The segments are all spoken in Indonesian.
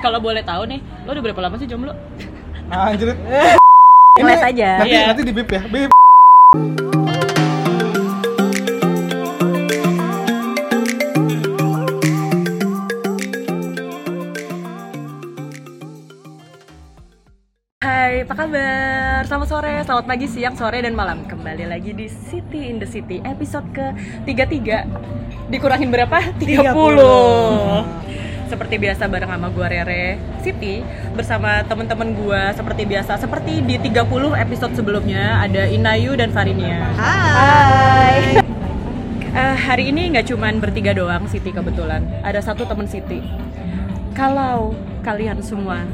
kalau boleh tahu nih lo udah berapa lama sih jomblo Anjir. Ngeles aja. Nah, Nanti Iya. nanti di bip ya. Bip. Hai, apa kabar? Selamat sore, selamat pagi, siang, sore, dan malam Kembali lagi di City in the City Episode ke-33 Dikurangin berapa? 30, 30. Seperti biasa bareng sama gue Rere Siti Bersama temen-temen gue seperti biasa Seperti di 30 episode sebelumnya Ada Inayu dan Farinia Hai. Eh, hari ini nggak cuman bertiga doang Siti kebetulan ada satu temen Siti kalau kalian semua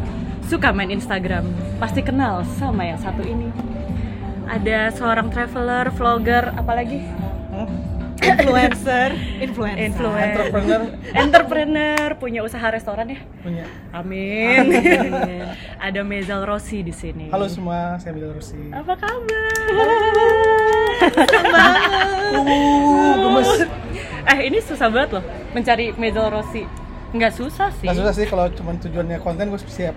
suka main Instagram pasti kenal sama yang satu ini ada seorang traveler vlogger apalagi Influencer, influencer. influencer Entrepreneur entrepreneur punya usaha restoran ya punya. Iya. amin ada Mezal Rossi di sini Halo semua, saya Bilal Rusi. apa kabar Uh, gemes. eh ini susah banget loh mencari Mezal Rossi nggak susah sih Gak susah sih kalau cuma tujuannya konten gue siap.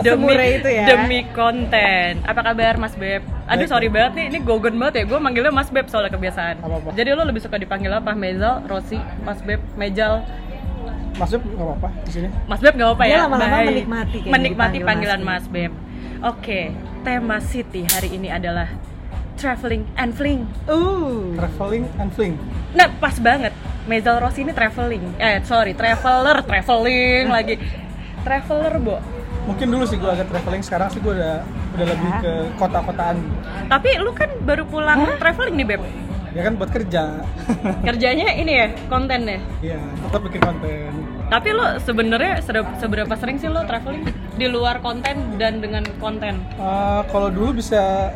demi Semurah itu ya. demi konten apa kabar Mas Beb aduh Baik. sorry banget nih ini gogon banget ya gue manggilnya Mas Beb soalnya kebiasaan Apa-apa. jadi lo lebih suka dipanggil apa Mezal Rosi Mas Beb Mejal Maksudnya nggak apa-apa di sini. Mas Beb nggak apa Dia ya lama-lama Baik. Iya menikmati kayaknya menikmati dipanggil panggilan Mas Mas Beb oke tema City hari ini adalah traveling and fling Uh. Traveling and fling. nah pas banget Mezal Rosi ini traveling eh sorry traveler traveling lagi traveler bo Mungkin dulu sih gue agak traveling, sekarang sih gue udah udah lebih ke kota-kotaan. tapi lu kan baru pulang traveling nih Beb Ya kan buat kerja. kerjanya ini ya konten ya Iya, tetap bikin konten. tapi lo sebenarnya sedap- seberapa sering sih lo traveling di luar konten dan dengan konten Eh, kalau dulu bisa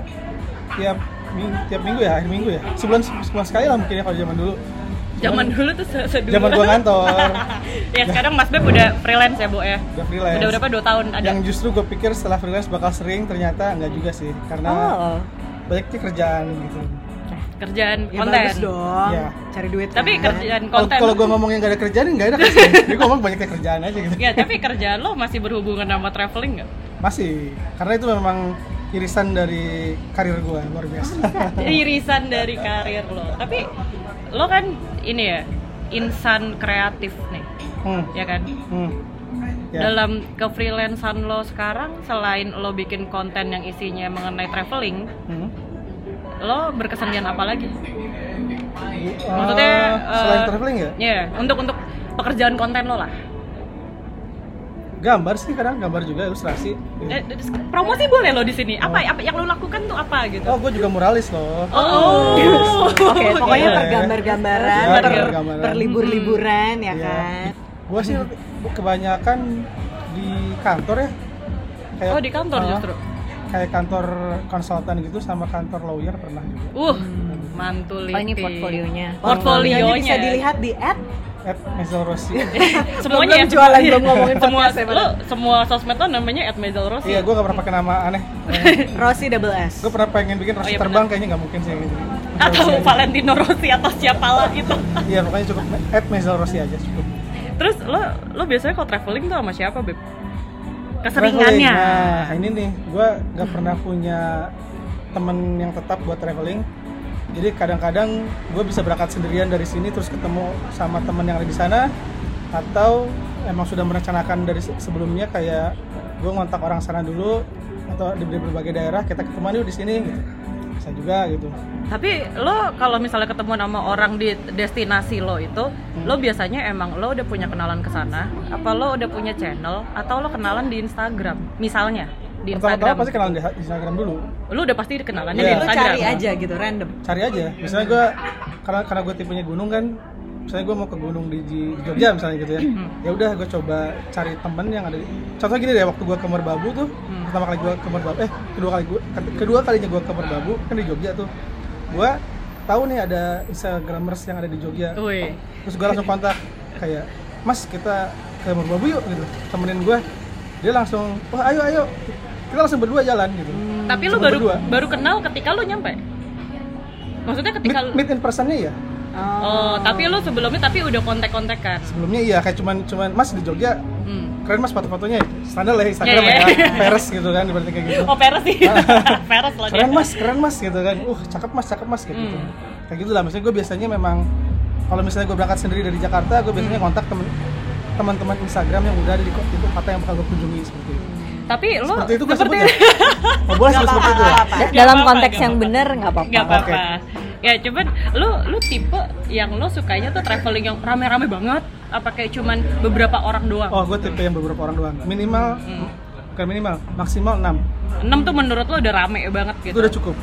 tiap minggu, tiap minggu ya, akhir minggu ya. Sebulan sebulan sekali lah mungkin ya kalau zaman dulu. zaman dulu tuh se- sedua Zaman gua kan? ngantor. ya sekarang Mas Beb udah freelance ya Bo ya Udah freelance. udah berapa dua tahun ada yang justru gue pikir setelah freelance bakal sering ternyata nggak juga sih karena Oh. banyaknya kerjaan gitu kerjaan Ya konten bagus dong. Iya. Cari duit. tapi kan. kerjaan kalau konten kalau gue ngomongnya nggak ada kerjaan nggak ada kan sih. jadi gue ngomong banyaknya kerjaan aja gitu ya tapi kerjaan lo masih berhubungan sama traveling nggak masih karena itu memang irisan dari karir gue luar biasa Oh, irisan dari karir lo tapi lo kan ini ya insan kreatif nih hmm. ya kan Hmm. Ya. Dalam ke freelancean lo sekarang selain lo bikin konten yang isinya mengenai traveling, Hmm. lo berkesenian apa lagi? Eh, Maksudnya selain eh, traveling ya Iya, untuk untuk pekerjaan konten lo lah. gambar sih kadang gambar juga ilustrasi gitu. Eh, promosi boleh lo di sini. Apa, apa yang lo lakukan tuh apa gitu? oh gue juga muralis loh Oh. Iya. Oke, pokoknya Oke. pergambar-gambaran, Ya, per- pergambar-gambaran. perlibur-liburan ya Iya. kan. gue sih kebanyakan di kantor ya Kayak- Oh, di kantor Ah. justru. kayak kantor konsultan gitu sama kantor lawyer pernah juga Uh, mantul Oh, ini portfolionya. Iya. Portfolionya bisa dilihat di app. at Mezal Eh, Rossi semuanya Belum jualan, belum ngomongin semua podcast ya, lo semua sosmed lo namanya @mezalrosi. iya gue gak pernah pakai nama aneh Rossi double S. gue pernah pengen bikin Oh, Rossi iya, terbang kayaknya nggak mungkin sih gitu. atau Iya. Valentino Rossi atau siapa lah gitu. iya pokoknya cukup at Mezal Rossi aja cukup Terus lo lo biasanya kalau traveling tuh sama siapa, Beb? Traveling. Keseringannya. nah ini nih gue gak pernah punya temen yang tetap buat traveling jadi kadang-kadang gue bisa berangkat sendirian dari sini terus ketemu sama temen yang ada di sana atau emang sudah merencanakan dari se- sebelumnya kayak gue ngontak orang sana dulu atau di di berbagai daerah kita ketemu yuk di sini gitu. bisa juga gitu Tapi lo kalau misalnya ketemu sama orang di destinasi lo itu, lo biasanya emang lo udah punya kenalan ke sana, apa lo udah punya channel atau lo kenalan di Instagram misalnya di pertama-tama Instagram. pasti kenalan di di Instagram dulu Lo udah pasti kenalannya Iya. di Lo Instagram. cari aja gitu random. cari aja misalnya gue karena karena gue tipenya gunung kan misalnya gue mau ke gunung di, di Jogja misalnya gitu ya ya udah gue coba cari temen yang ada di contohnya gini deh waktu gue ke Merbabu tuh pertama kali gue ke Merbabu eh kedua kali gue kedua kalinya gue ke Merbabu kan di Jogja tuh gue tahu nih ada instagramers yang ada di Jogja Wih. terus gue langsung kontak kayak mas kita ke Merbabu yuk gitu temenin gue dia langsung wah ayo ayo kita langsung berdua jalan gitu Tapi lo Cuma baru berdua. baru kenal ketika lo nyampe. Maksudnya meet, ketika lo- meet in personnya ya Oh, tapi lo sebelumnya tapi udah kontak-kontakan. sebelumnya iya kayak cuman cuman mas di Jogja Hmm. ke keren mas sepatu-sepatunya ya. standar lah ya, Instagram Iya, iya. ya peres gitu kan berarti kayak gitu Oh peres sih, peres loh dia. keren mas keren mas gitu kan uh cakep mas cakep mas kayak gitu Hmm. kayak gitulah maksudnya gue biasanya memang kalau misalnya gue berangkat sendiri dari Jakarta gue Hmm. biasanya kontak temen teman-teman Instagram yang udah ada di kota itu kota yang bakal gue kunjungi seperti itu Tapi lo seperti itu gue Oh, sebut seperti- ya oh, boleh sebut seperti itu ya? apa-apa. Da- Nggak dalam apa-apa, konteks nggak yang apa-apa. bener nggak apa-apa. Ah, nggak apa-apa. Ya cuman lu lu tipe yang lo sukanya tuh traveling yang rame-rame banget apa kayak cuman beberapa orang doang? oh gue tipe yang beberapa orang Hmm. doang minimal bukan minimal maksimal 6 Enam tuh menurut lo udah rame banget itu gitu. udah cukup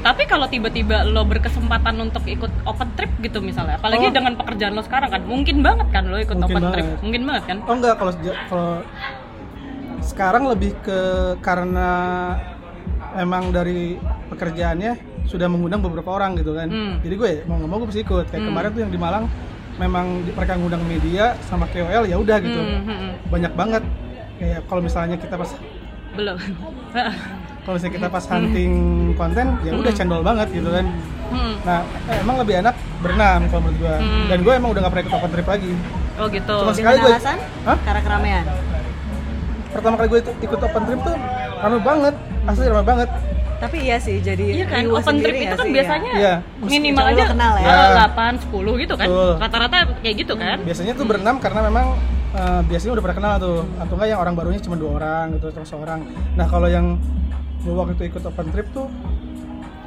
Tapi kalau tiba-tiba lo berkesempatan untuk ikut open trip gitu misalnya, apalagi Oh. dengan pekerjaan lo sekarang kan, mungkin banget kan lo ikut Mungkin open banget. trip, mungkin banget kan? oh enggak kalau sejak- kalau sekarang lebih ke karena emang dari pekerjaannya sudah mengundang beberapa orang gitu kan Hmm. jadi gue mau nggak mau gue mesti ikut kayak kemarin tuh yang di Malang memang di- mereka ngundang media sama KOL ya udah gitu Hmm, hmm, hmm. banyak banget kayak kalau misalnya kita pas belum. kalau misalnya kita pas hunting konten ya udah cendol banget gitu kan Hmm. nah emang lebih enak berenam kalau menurut gue Hmm. dan gue emang udah nggak pernah ikut open trip lagi Oh gitu. Cuma Dengan sekali gue alasan? Hah? Karena keramaian. pertama kali gue ikut open trip tuh rame banget asli rame banget Tapi iya sih jadi Iya kan, riuh open trip sendiri itu kan nggak sih? ya. biasanya Iya. minimal Kecuali aja lo kenal ya. Iya. 8, 10 gitu kan. Betul. Rata-rata kayak gitu kan. biasanya tuh berenam karena memang eh, biasanya udah pernah kenal tuh atau enggak yang orang barunya cuma dua orang gitu atau seorang nah kalau yang gue waktu itu ikut open trip tuh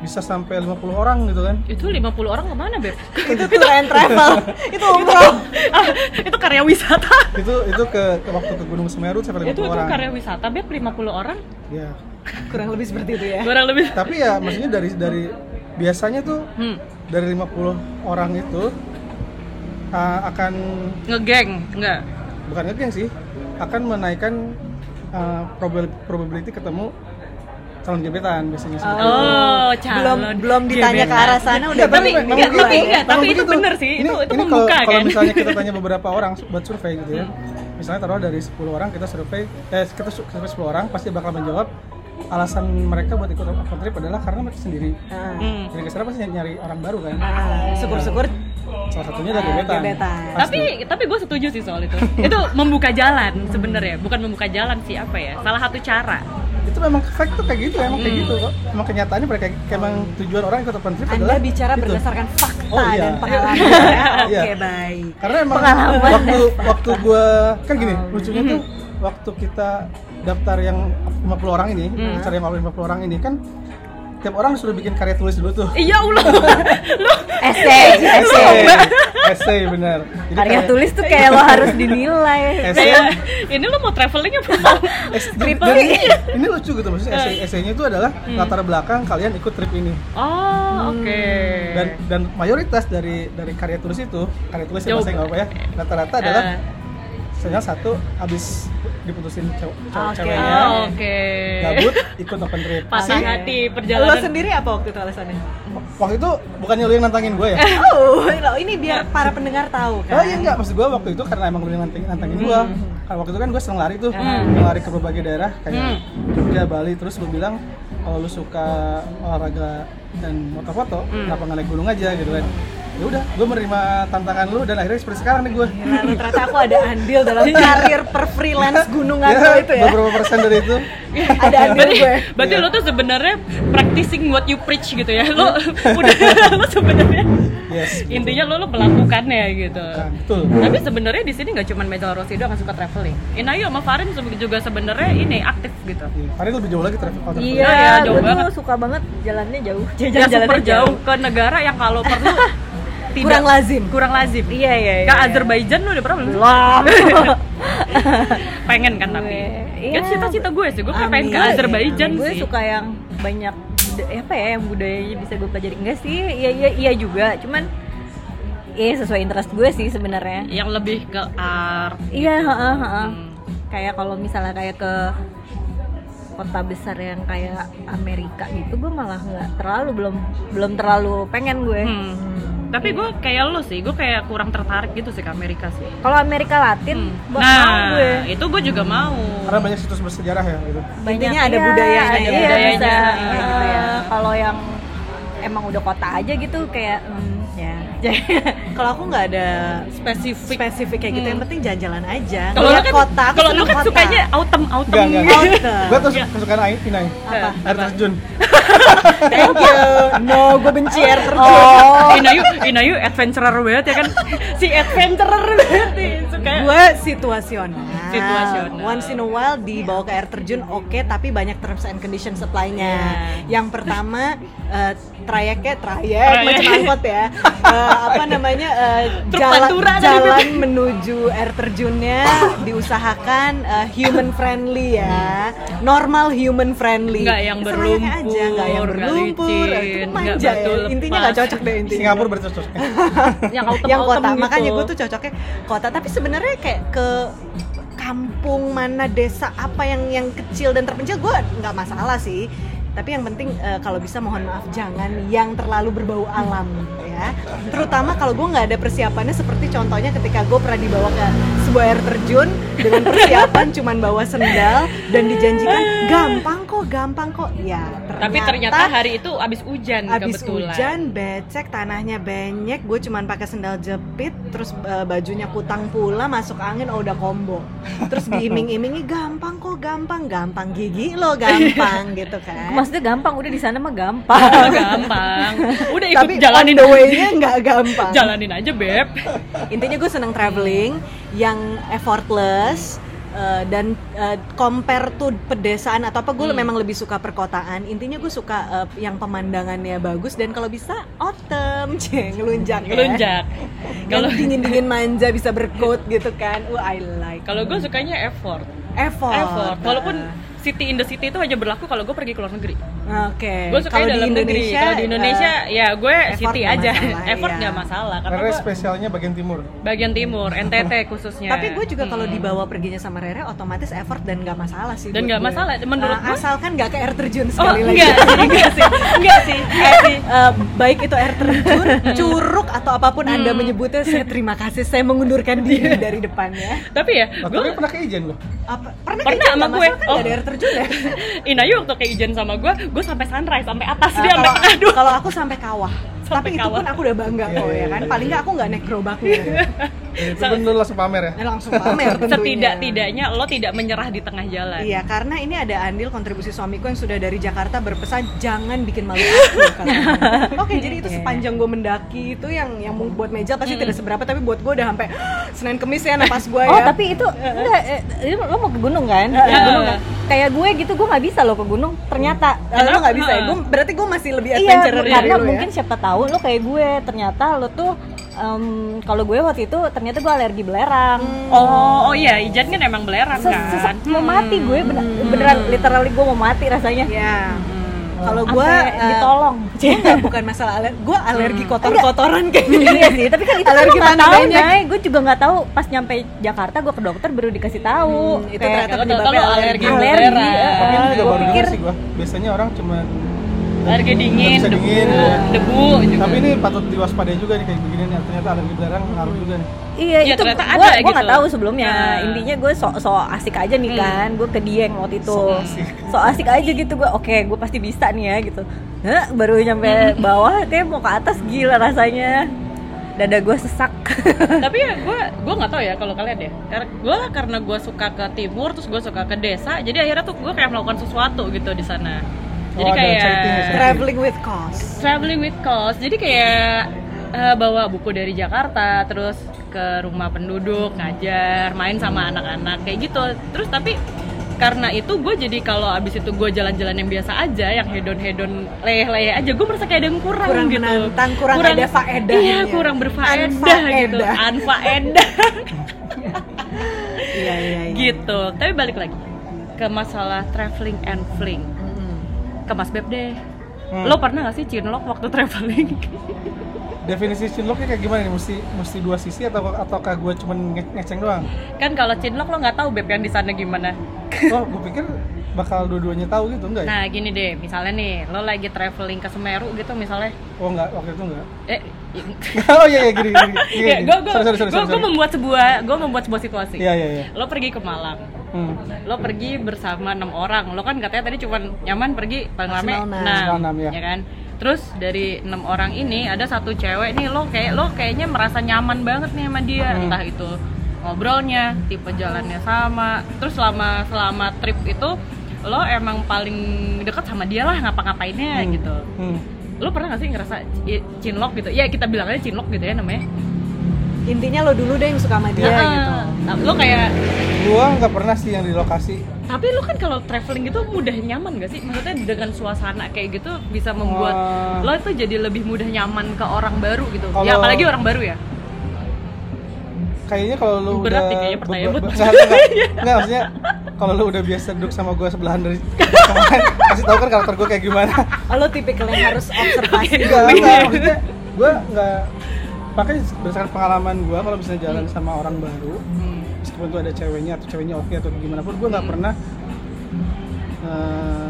bisa sampai 50 orang gitu kan Itu 50 orang kemana, Beb? ya. Itu tuh and travel. itu umroh. Ah, itu karya wisata. itu itu ke, ke waktu ke Gunung Semeru itu sampai 50 itu orang karya wisata, Beb, 50 orang. ya Kurang lebih seperti itu Eh. ya. Kurang lebih. tapi ya maksudnya dari dari biasanya tuh Hmm, dari 50 orang itu eh, akan ngegeng, enggak. bukan ngegeng sih akan menaikkan eh, probabil- probability ketemu calon gebetan biasanya seperti itu. Oh, belum calon belum ditanya ke kan? gebetan. arah sana Iya, udah tapi enggak, bener. Bener tapi ya. enggak. Memang itu begitu. bener sih, itu- itu ini membuka, kalau, Kalau kan? Hmm. misalnya kita tanya beberapa orang buat survei gitu ya. Misalnya taruh dari 10 orang kita survei eh kita su- survei 10 orang pasti bakal menjawab alasan mereka buat ikut open trip adalah karena mereka sendiri. Ah, Hmm. Jadi kesana pasti nyari orang baru kan. ah, Syukur-syukur Salah satunya dari gebetan. Gebetan. Pasti. Ah, tapi tapi gue setuju sih soal itu itu membuka jalan sebenarnya bukan membuka jalan sih apa ya salah satu cara itu memang fact tuh kayak gitu, emang kayak gitu kok. Emang kenyataannya mereka kayak emang tujuan orang ikut open trip Anda adalah gitu. bicara itu. berdasarkan fakta Oh, iya. dan pengalaman. ya. Oke, Iya. baik. karena emang Pengalaman waktu waktu gue kan gini lucunya tuh waktu kita daftar yang 50 orang ini acara yang malu 50 orang ini kan tiap orang sudah bikin karya tulis dulu tuh iya Allah lu Esai, esai. essay essay bener Jadi Iya, Karya kayak- tulis tuh kayak lo harus dinilai. essay kayak Iya. ini lu mau traveling apa mau es- trip dan lagi? ini, ini lucu gitu maksudnya essay essaynya itu adalah latar belakang kalian ikut trip ini oh oke dan dan mayoritas dari dari karya tulis itu karya tulis ya Jauh. bahasa nggak apa ya rata-rata adalah Eh. misalnya satu abis diputusin cewek Oke. ceweknya Oh, oke gabut ikut open trip Ah, pasang Pasti hati Lo perjalanan sendiri apa waktu itu alasannya? waktu itu bukannya lu yang nantangin gue ya Oh, lo ini biar para pendengar tahu kan. Oh iya enggak, maksud gue waktu itu karena emang lu yang nantangin, nantangin gue Hmm. Karena waktu itu kan gue sering lari tuh, sering lari ke berbagai daerah Hmm. kayak Jogja, Bali Terus gue bilang, kalau lu suka olahraga dan foto-foto, Hmm. kenapa nggak naik gunung aja gitu kan ya udah, gue menerima tantangan lu dan akhirnya seperti sekarang nih gue Lalu ternyata aku ada andil dalam Iya. karir per freelance gunungan lo itu ya. Beberapa persen dari itu Ada andil berarti, gue. berarti Iya. lu tuh sebenarnya practicing what you preach gitu ya lu udah lu sebenarnya Yes intinya lu lu melakukannya gitu Bukan, Betul Iya, Tapi sebenarnya di sini nggak cuma Mejal Rossi doang yang suka traveling. Inayu sama Farin se- juga sebenarnya ini aktif gitu. Iya, Karena itu lebih jauh lagi traffic kalau traffic. Iya, Iya, iya, jauh gue tuh banget. suka banget jalannya jauh. Yang Jalan-jalannya Ya, super jauh ke negara yang kalau perlu tidak Kurang lazim. kurang lazim. Iya, iya, iya. Ke Azerbaijan lu udah pernah belum? Belum. Pengen kan tapi. Iya. Kan cita-cita gue sih, gue pengen ke Amin. Azerbaijan gue sih. suka yang banyak buda- apa ya yang budayanya bisa gue pelajari enggak sih iya iya iya juga cuman iya sesuai interest gue sih sebenarnya Yang lebih ke art. iya heeh, heeh. Hmm. kayak kalau misalnya kayak ke kota besar yang kayak Amerika gitu gue malah nggak terlalu belum belum terlalu pengen gue Hmm. Tapi gue kayak lo sih, gue kayak kurang tertarik gitu sih ke Amerika sih. kalau Amerika Latin Hmm. buat mau Nah, gue itu gue juga mau. Karena banyak situs bersejarah ya gitu Intinya ada budayanya, ada ada budayanya, bisa. iya, Eh, gitu ya. kalau yang emang udah kota aja gitu kayak hmm, ya Kalau aku nggak ada Spesifik. spesifik kayak gitu, yang penting jalan-jalan aja. Kalau lu Ngeliat kan, kota, aku kalau lu seneng kan kota. sukanya autumn autumn. Enggak, enggak. Outer. Gue tuh kesukaan Aing, Inai. Iya. Iya. Apa? Air terjun. Thank you. No, gue benci air terjun. Oh. Oh. Inayu, Inayu adventurer banget ya kan? si adventurer banget nih, suka. Gue situasional. eh, Situasional. Once in a while dibawa ke air terjun oke, tapi banyak terms and conditions supply-nya. Yang pertama eh, trayeknya trayek Trayek. macam angkot ya. Eh, apa namanya? eh, Truk jalan Pantura tadi. jalan menuju air terjunnya diusahakan eh, human friendly ya. Normal human friendly. Nggak yang Seenaknya aja, nggak yang berlumpur, nggak berlumpur, licin, cukup nggak manja batu ya. Intinya nggak lepas. cocok deh intinya. Singapura Eh, berterjun. Yang autumn yang kota autumn makanya gitu. gue tuh cocoknya kota tapi sebenarnya kayak ke kampung mana desa apa yang yang kecil dan terpencil gue nggak masalah sih tapi yang penting eh, kalau bisa mohon maaf jangan yang terlalu berbau alam ya terutama kalau gue nggak ada persiapannya seperti contohnya ketika gue pernah dibawa ke sebuah air terjun dengan persiapan cuman bawa sendal dan dijanjikan gampang kok gampang kok ya Tapi ternyata hari itu abis hujan Abis kebetulan. hujan becek tanahnya banyak, gue cuman pakai sendal jepit, terus eh, bajunya kutang pula, masuk angin oh udah combo. Terus diiming-imingi gampang kok, gampang, gampang gigi lo Iya. gampang gitu kan. Maksudnya gampang udah di sana mah gampang. Oh, gampang. Udah ikut Tapi jalanin on the way-nya Iya. nggak gampang. Jalanin aja, Beb. Intinya gue seneng traveling yang effortless. eh, dan eh, compare to pedesaan atau Hmm. apa gue memang lebih suka perkotaan intinya gue suka eh, yang pemandangannya bagus dan kalau bisa autumn ceng lunjak ya. Ngelunjak. Kalau kalau dingin dingin manja bisa berkot gitu kan wah I like kalau gue sukanya effort. effort, Effort. Walaupun city in the city itu hanya berlaku kalau gue pergi ke luar negeri. Ah, oke Gue suka dalam negeri. Kalau di Indonesia ya gue eh, effort city nggak aja. masalah, effort iya. nggak masalah karena Karena gue spesialnya bagian timur. bagian timur, NTT khususnya. eh, tapi gue juga kalau dibawa perginya sama Rere otomatis effort dan nggak masalah sih Hmm. Dan buat nggak gue. masalah, menurut Ah, gue- asalkan nggak ke air terjun Oh, sekali lagi enggak, sih, enggak sih. Enggak sih. Enggak sih. Eh, baik itu air terjun, curug atau apapun anda Hmm. menyebutnya saya terima kasih saya mengundurkan Iya. diri dari depannya Tapi ya, Nah, gue tapi pernah ke Ijen loh. apa pernah, Pernah kejadian sama nggak gue. masalah kan Oh. nggak ada air terjun ya Inayu waktu kayak ijen sama gue, gue sampai sunrise, sampai atas dia Ah, sampai tengah kalau kalau aku sampai kawah Sampai tapi kawah. itu pun aku udah bangga Iya, kok iya, ya kan iya, paling nggak aku nggak naik gerobaknya Dan itu Sa- bener langsung pamer ya. Nah, langsung pamer tentunya Setidak-tidaknya lo tidak menyerah di tengah jalan. Iya, karena ini ada andil kontribusi suamiku yang sudah dari Jakarta berpesan jangan bikin malu aku. katanya. Oke, jadi Iya. itu sepanjang gue mendaki itu yang yang mung- buat meja pasti tidak seberapa, tapi buat gue udah sampai Senin Kemis ya napas gue ya. Oh tapi itu enggak, eh, eh, lo mau ke gunung kan? Ke gunung kan? Kayak gue gitu gue nggak bisa lo ke gunung. Ternyata Eh, lo nggak bisa ya? Gua- berarti gue masih lebih iya adventurer dari karena lo ya? mungkin siapa tahu lo kayak gue. Ternyata lo tuh em, kalau gue waktu itu ternyata gue alergi belerang. Oh, oh iya, Ijan kan emang belerang Ses- kan. sesek- mau mati gue bener- beneran literally gue mau mati rasanya. Ya. Kalau gue Sampai ditolong. Enggak, bukan masalah alergi. Gue Mm. alergi kotor-kotoran kayaknya. iya sih, tapi kan itu kan Alergi lo nggak tahu tandanya. Nay. Gue juga nggak tahu pas nyampe Jakarta gue ke dokter baru dikasih tahu. Hmm, itu Kayak- ternyata Kalau penyebabnya lo alergi alergi. Alergi, eh, Iya. belerang. Tapi ini juga Gua Iya, baru dengar pikir- sih gue. Biasanya orang cuma Alergi dingin, Bisa debu, dingin, ya. debu juga. tapi ini patut diwaspadai juga nih kayak begini nih. Ternyata alergi belerang ngaruh juga nih. Iya Iya, itu gue ternyata gue ada gitu. nggak tahu sebelumnya. Nah. Hmm. Intinya gue sok sok asik aja nih kan. Gue ke Dieng waktu itu. Sok asik. aja gitu gue. Oke, gue pasti bisa nih ya gitu. Hah, baru Hmm. nyampe bawah kayak mau ke atas gila rasanya. Dada gue sesak. Tapi ya gue gue nggak tahu ya kalau kalian ya. Karena gue karena gue suka ke timur, terus gue suka ke desa, jadi akhirnya tuh gue kayak melakukan sesuatu gitu di sana. Jadi Oh, ada kayak exciting ya, Traveling with cause. traveling with cause. Jadi kayak eh, bawa buku dari Jakarta, terus ke rumah penduduk ngajar, main sama anak-anak kayak gitu. Terus tapi karena itu gue jadi kalau abis itu gue jalan-jalan yang biasa aja, yang hedon-hedon leleh-leleh aja, gue merasa kayak ada yang kurang, Kurang gitu. menantang, kurang ada faedahnya. Iya, kurang berfaedah Anfaedah. gitu, anfaedah Iya, iya, iya. gitu. Tapi balik lagi ke masalah traveling and fling. Mm. Ke Mas Beb deh. Hmm. Lo pernah gak sih cinlok waktu traveling? Definisi cinloknya kayak gimana nih? Mesti mesti dua sisi atau ataukah gue cuman nge- ngeceng doang? kan kalau cinlok lo nggak tahu beb yang di sana gimana Oh, gue pikir bakal dua-duanya tahu gitu enggak ya? nah gini deh misalnya nih lo lagi traveling ke Semeru gitu misalnya Oh enggak, waktu itu enggak. eh oh iya iya gini gini. gini, ya gini. gue gue Sorry, sorry, sorry, sorry, sorry. membuat sebuah gue membuat sebuah situasi Iya iya iya. lo pergi ke Malang Hmm. lo pergi bersama enam orang lo kan katanya tadi cuma nyaman pergi paling lama Maksimal enam. enam Enam, ya. ya kan Terus dari enam orang ini ada satu cewek nih lo kayak lo kayaknya merasa nyaman banget nih sama dia Hmm. entah itu ngobrolnya, tipe jalannya sama. Terus selama selama trip itu lo emang paling dekat sama dia lah ngapa-ngapainnya gitu. Hmm. Lo pernah gak sih ngerasa i- cinlok gitu? Ya kita bilangnya cinlok gitu ya namanya. Intinya lo dulu deh yang suka sama dia Ah, gitu. nah, Lo kayak Gua nggak pernah sih yang di lokasi. tapi lo kan kalau traveling gitu mudah nyaman gak sih? Maksudnya dengan suasana kayak gitu bisa membuat Wah. lo itu jadi lebih mudah nyaman ke orang baru gitu. Ya Kalau- apalagi orang baru ya. Kayaknya kalau lu Berat udah nih kayaknya pertanyaan Iya. buat nggak, Mas. nggak, nggak, maksudnya kalau lu udah biasa duduk sama gua sebelahan dari kawan, kasih tau kan karakter gua kayak gimana. Oh, lo tipikal yang harus observasi. Enggak, enggak, Iya, iya. maksudnya gua nggak pakai berdasarkan pengalaman gua kalau bisa jalan Hmm. sama orang baru meskipun itu ada ceweknya atau ceweknya oke atau gimana pun gua Hmm. nggak pernah eh,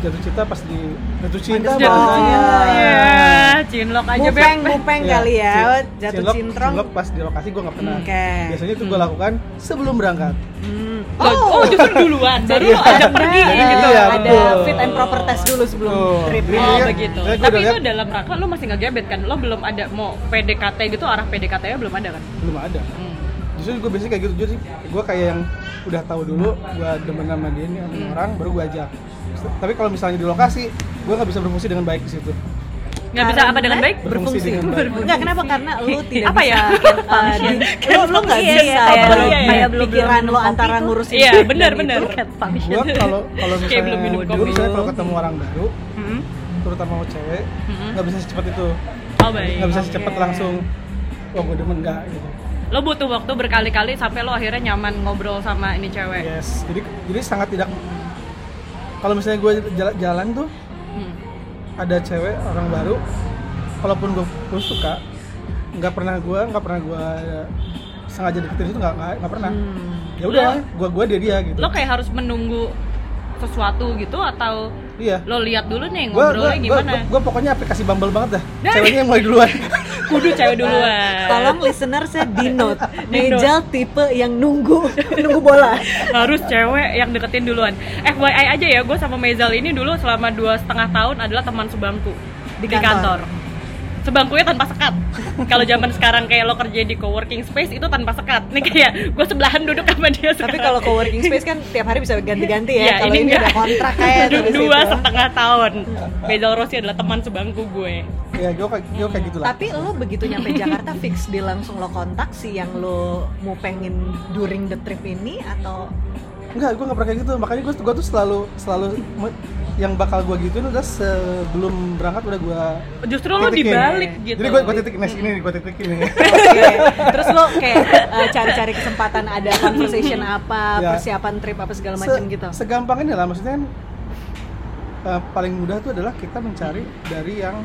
jatuh cinta pas di jatuh cinta Iya. Terus jatuh malah. cinta. Ya, cinlok aja Mupeng, Beb. mupeng Iya, iya. kali ya. cin- Jatuh cinlok- cintrong. Hmm, cinlok pas di lokasi gua nggak pernah Oke. biasanya itu gua lakukan sebelum berangkat Hmm. Loh, Oh, justru duluan. Baru lo ajak pergi Ada, gitu. Iya, ada betul. fit and proper test dulu sebelum Betul. trip. Iya, Oh iya. begitu. Saya gua Tapi udah itu lihat. dalam rangka lo masih ngegebet kan? Lo belum ada mau PDKT gitu arah PDKT-nya belum ada kan? belum ada Hmm. justru gue biasanya kayak gitu jadi gue kayak yang udah tahu dulu gue demen sama dia nih sama orang baru gue ajak tapi kalau misalnya di lokasi gue nggak bisa berfungsi dengan baik di situ Nggak bisa apa dengan baik? berfungsi, dengan baik Enggak Oh, kenapa karena lu tidak Apa ya? uh, di- lu lu nggak Iya, bisa iya, kayak kalau belum- kayak kayak belum belum- pikiran belum lu minum antara kopi tuh. ngurusin Iya, dan benar, itu. benar. Cat function. gue kalau kalau Kayak belum minum misalnya kopi. dulu misalnya kalau ketemu orang baru Hmm. terutama sama cewek Hmm. nggak bisa secepat itu Oh baik. nggak bisa secepat Oke. langsung oh gue demen nggak gitu Lo butuh waktu berkali-kali sampai lo akhirnya nyaman ngobrol sama ini Iya. cewek. yes jadi jadi sangat tidak kalau misalnya gue jalan tuh Hmm. ada cewek orang baru kalaupun gue suka nggak pernah gue nggak pernah gue sengaja deketin itu nggak nggak nggak pernah ya udah Hmm. Lo- gue gue dia dia gitu Lo kayak harus menunggu sesuatu gitu atau iya lo lihat dulu nih gue gue ngobrolnya gimana? gue pokoknya aplikasi bumble banget dah Dari- ceweknya yang mulai duluan Kudu cewek duluan. Tolong listener saya di note. Di note. Nejal tipe yang nunggu nunggu bola. harus cewek yang deketin duluan. FYI aja ya, gue sama Mezal ini dulu selama dua setengah tahun adalah teman sebangku Di kantor. Sebangkunya tanpa sekat. Kalau zaman sekarang kayak lo kerja di co-working space itu tanpa sekat. Nih kayak gue sebelahan duduk sama dia. Tapi sekarang. kalau co-working space kan tiap hari bisa ganti-ganti Iya, ya. kalau ini, enggak. ada kontrak kayak Du- tulis dua itu. setengah tahun. Mezal Rossi adalah teman sebangku gue. ya gue kayak gue kayak gitulah Tapi lo begitu nyampe Jakarta fix di langsung lo kontak si yang lo mau pengen during the trip ini atau Enggak, gue nggak pernah kayak gitu makanya gue gue tuh selalu selalu me- yang bakal gue gituin udah sebelum berangkat udah gue Justru lo dibalik gitu. jadi gue gue titik nes nah, ini gue titik ini Oke. Terus lo kayak eh, cari-cari kesempatan ada conversation apa, Ya. persiapan trip apa segala Se- macam gitu. Segampang ini lah maksudnya kan eh, paling mudah itu adalah kita mencari dari yang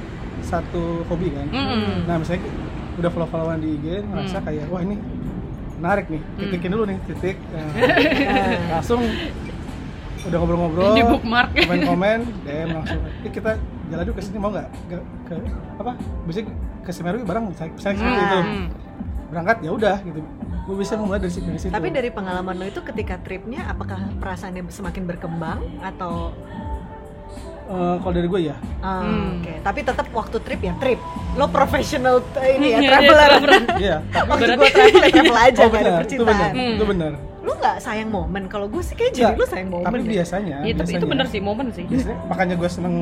satu hobi kan. Mm-mm. Nah misalnya udah follow-followan di IG Mm. ngerasa kayak wah ini menarik nih titikin dulu nih titik Nah, langsung udah ngobrol-ngobrol Di bookmark. komen-komen DM langsung eh kita jalan dulu ke sini mau nggak ke, ke- apa bisa ke Semeru bareng misalnya misalnya seperti itu Hmm. gitu. berangkat ya udah gitu gue bisa mulai dari situ dari situ Tapi dari pengalaman lo itu ketika tripnya apakah perasaannya semakin berkembang atau Eh, kalau dari gue ya Ah, Hmm. oke. Tapi tetap waktu trip ya trip. Lo profesional eh, ini ya Iya, traveler. iya, traveler. iya tapi Waktu Berarti- gue travel ya travel aja Oh, benar, gak ada itu benar, percintaan. Hmm. itu benar. Lo nggak sayang momen. Kalau gue sih kayak jadi Nggak, lo sayang momen. ya? Tapi deh. biasanya, Iya, tapi biasanya, itu bener sih Hmm. momen sih. biasanya- makanya gue seneng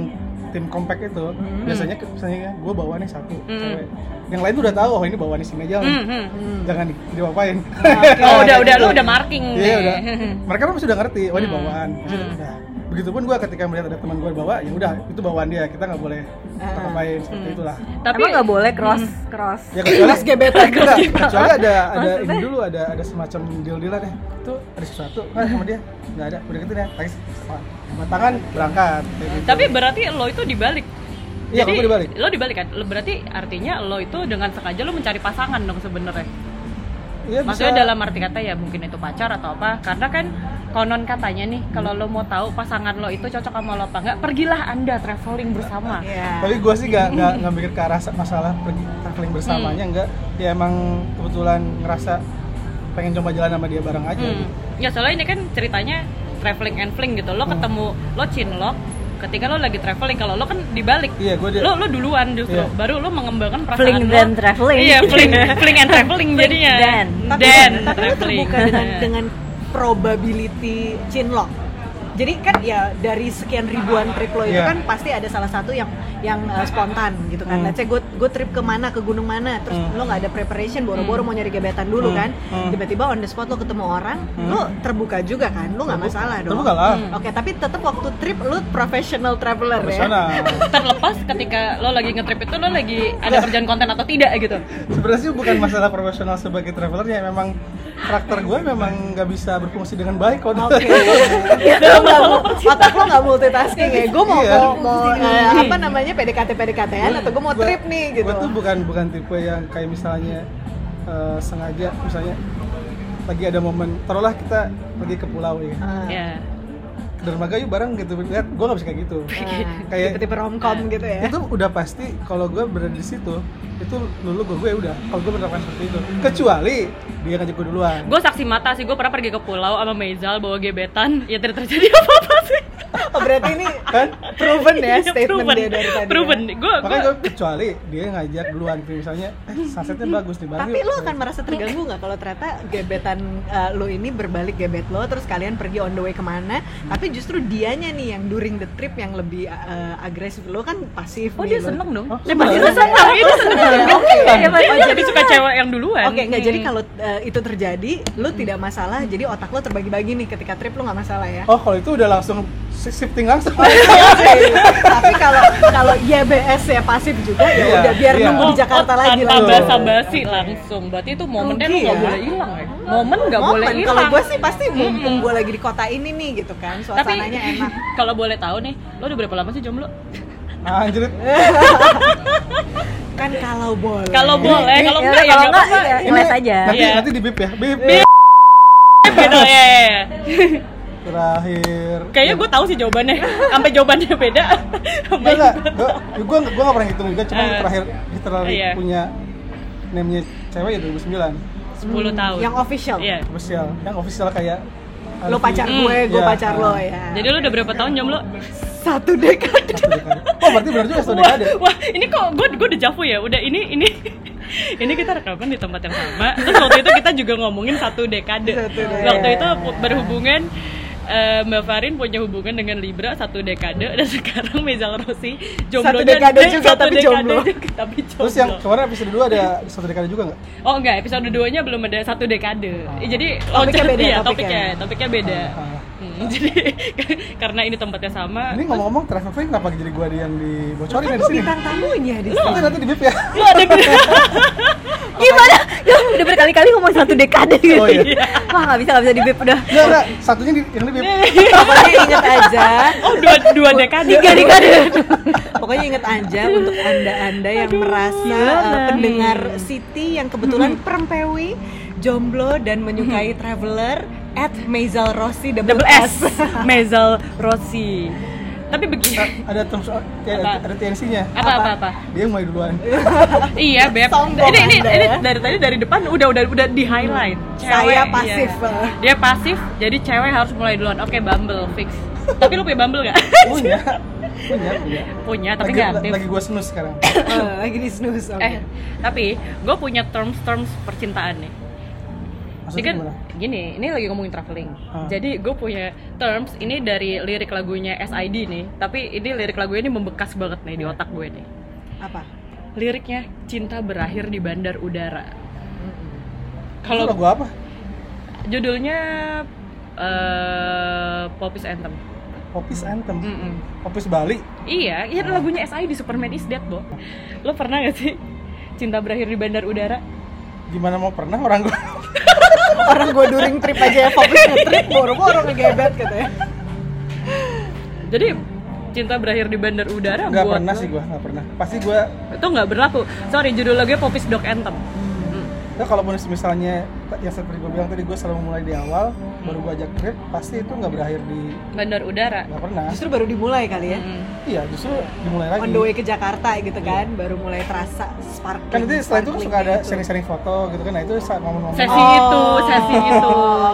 tim compact itu. Hmm. Biasanya, misalnya gue bawa nih satu Hmm. cewek. Yang lain tuh udah tahu, oh ini bawa nih sini aja. nih. Hmm, hmm. Hmm. Jangan di- diapain. Oh udah udah lo udah marking Iya nih. udah. Mereka pun sudah ngerti, oh ini Hmm. bawaan. Maksudnya, Hmm. nah, Begitupun gue ketika melihat ada teman gue bawa, ya udah itu bawaan dia. Kita nggak boleh Ah. apa-apain seperti Hmm. itulah. Tapi Hmm. Emang nggak boleh cross cross. Ya kecuali Mas gebetan. Enggak, kecuali ada ada ini dulu ada ada semacam deal dealan deh itu ada sesuatu kan sama dia nggak ada udah gitu deh tangis sama tangan berangkat kayak gitu. Tapi berarti lo itu dibalik. iya kalau gue dibalik Lo dibalik kan? Lo berarti artinya lo itu dengan sengaja lo mencari pasangan dong sebenarnya. iya Maksudnya dalam arti kata ya mungkin itu pacar atau apa. Karena kan konon katanya nih kalau lo mau tahu pasangan lo itu cocok sama lo apa enggak, pergilah Anda traveling bersama. Iya. tapi gue sih nggak nggak nggak mikir ke arah sa- masalah pergi traveling bersamanya nggak ya emang kebetulan ngerasa pengen coba jalan sama dia bareng aja Hmm. gitu. Hmm. Ya soalnya ini kan ceritanya traveling and fling gitu. Lo ketemu lo cinlok ketika lo lagi traveling kalau lo kan dibalik Iya, gua di- lo lo duluan justru Iya. baru lo mengembangkan perasaan Fling lo dan traveling. iya fling fling and traveling jadinya dan. tapi, dan tapi lu traveling. terbuka dengan Iya. dengan probability chinlock jadi kan ya dari sekian ribuan trip lo itu Iya. kan pasti ada salah satu yang yang uh, spontan gitu kan. Hmm. Let's say gue gue trip kemana ke gunung mana, terus Hmm. lo nggak ada preparation, boro-boro mau nyari gebetan dulu Hmm. kan. Hmm. Tiba-tiba on the spot lo ketemu orang, Hmm. lo terbuka juga kan, lo nggak Terbuka- masalah dong. terbuka lah. Hmm. Oke, tapi tetap waktu trip lo professional traveler ya. Profesional. terlepas ketika lo lagi ngetrip itu lo lagi ada Iya. kerjaan konten atau tidak gitu Sebenarnya sih bukan masalah profesional sebagai traveler ya memang karakter gue memang nggak bisa berfungsi dengan baik kalau Oke. Lo nggak mu- otak lo nggak multitasking ya. Gue mau Iya. mau, mau, eh, apa namanya PDKT PDKT-an atau gue mau Gua- trip nih gitu. Gua tuh bukan bukan tipe yang kayak misalnya eh, sengaja misalnya lagi ada momen taruhlah kita pergi ke pulau ya. Ah. ya Ke dermaga yuk bareng gitu. Lihat gue nggak bisa kayak gitu. Nah, Kayak- tipe-tipe romcom gitu ya. Itu udah pasti kalau gue berada di situ itu lulu gue gue udah kalau gue menerapkan seperti itu kecuali dia ngajak gue duluan gue saksi mata sih gue pernah pergi ke pulau sama Mezal bawa gebetan ya tidak terjadi apa apa sih Oh, berarti ini kan proven ya Iya, statement proven dia dari tadi. ya. proven gue makanya gue kecuali dia ngajak duluan Kayak misalnya eh, sunsetnya bagus nih bareng Tapi yuk. lo akan merasa terganggu nggak kalau ternyata gebetan eh, lo ini berbalik gebet lo, terus kalian pergi on the way kemana? Tapi justru dianya nih yang during the trip yang lebih eh, agresif lo kan pasif. oh nih, dia lo. seneng dong Hah? Oh, iya. dia pasti seneng dia seneng Iya, Pak. dia lebih kan? suka cewek yang duluan Oke, nggak jadi Hmm. kalau eh, itu terjadi, lo tidak masalah. Jadi otak lo terbagi-bagi nih ketika trip lo nggak masalah ya. Iya oh kalau itu udah langsung shifting langsung Tapi kalau kalau YBS ya pasif juga ya Iya, udah biar iya. nunggu di Jakarta lagi Oh, tanpa lah. basa-basi langsung berarti itu momennya lu Rugi nggak ya. boleh hilang ya momen nggak boleh Momen hilang kalau gue sih pasti mumpung gue lagi di kota ini nih gitu kan, tapi suasananya enak. kalau boleh tahu nih lo udah berapa lama sih jomblo anjir Kan kalau boleh. kalau boleh kalau Iya, enggak ya kalau nggak enggak, apa-apa iya. Ini Ngeliat aja. nanti Iya. nanti di bip ya bip iya. Gitu, ya, ya, ya. terakhir kayaknya gue tahu sih jawabannya sampai jawabannya beda Iya, enggak enggak gue gue gue nggak pernah hitung juga cuma Eh, terakhir literally iya. punya namanya cewek ya 2009 10 tahun Yang official. Iya. official yang official kayak Lo Alfi. pacar gue, gue Iya. pacar lo ya. jadi lo udah berapa tahun jomblo satu dekade. Satu dekade. oh berarti benar juga satu wah, dekade wah, ini kok gue gue udah jafu ya udah ini ini ini kita rekaman di tempat yang sama terus waktu itu kita juga ngomongin satu dekade, Satu dekade. Iya, waktu itu pu- berhubungan eh, Mbak Farin punya hubungan dengan Libra satu dekade dan sekarang Mezal Rossi jomblo Satu dan- dekade dan juga, tapi jomblo. juga, tapi jomblo. terus yang kemarin episode 2 ada satu dekade juga nggak oh enggak episode 2 nya belum ada satu dekade Eh, jadi Oh. Topiknya loncat beda, iya, topiknya. Oh, topiknya topiknya beda Ah, ah. Hmm, jadi karena ini tempatnya sama ini ngomong-ngomong travel Fling kenapa jadi gua dia yang dibocorin Kan ya di gue sini bintang tamunya di nanti sini. nanti di bip ya lu ada Gimana? Ya, udah berkali-kali ngomong satu dekade gitu. Oh, iya. Wah, nggak bisa nggak bisa di bip udah. Enggak, enggak. Satunya di, yang di bip. Iya. Pokoknya inget aja. oh dua dua dekade Tiga dekade. Pokoknya inget aja untuk anda-anda yang merasa Iya, uh, pendengar Siti yang kebetulan perempewi, jomblo dan menyukai traveler at Maisel Rossi double, double S. S Mezel Rossi tapi begini Ada terms kayak ada, Apa? ada TNC-nya. apa apa apa Dia yang mulai duluan. iya beb Sombong ini ini, Anda ini ya. dari tadi dari depan udah udah udah di highlight Saya pasif. iya. dia pasif jadi cewek harus mulai duluan oke bumble fix tapi lu punya bumble nggak Punya. Punya, punya. punya tapi Lagi, nggak aktif lagi gua snus sekarang. Eh, lagi di snooze. oke. Oh. eh tapi gue punya terms terms percintaan nih Ini Maksudnya kan gimana? gini, ini lagi ngomongin traveling. Ah. Jadi gue punya terms ini dari lirik lagunya SID nih, tapi ini lirik lagu ini membekas banget nih di otak gue nih. Apa? Liriknya cinta berakhir di bandar udara. Kalau Kalau gua apa? judulnya eh Popis Anthem. Popis Anthem. Hmm. Mm-mm. Popis Bali. Iya, iya lagunya SID Superman is Dead, Bo. Lo pernah gak sih cinta berakhir di bandar udara? Gimana mau pernah orang gua Orang gue during trip aja ya fokus nge-trip, boro-boro ngegebet gitu ya? katanya. Jadi cinta berakhir di bandar udara nggak buat pernah lo- sih gua, nggak pernah. Pasti gua itu nggak berlaku sorry judul lagunya popis dog anthem Nah, kalau bonus misalnya yang seperti gue bilang tadi gue selalu mulai di awal, baru gue ajak trip, pasti itu nggak berakhir di bandar udara. nggak pernah. Justru baru dimulai kali ya. Mm. Iya, justru dimulai lagi. On the way ke Jakarta gitu kan, baru mulai terasa sparkling. Kan nanti setelah itu suka ada sparklingnya sharing-sharing foto gitu kan, nah itu saat momen-momen. Sesi Oh. itu, sesi itu.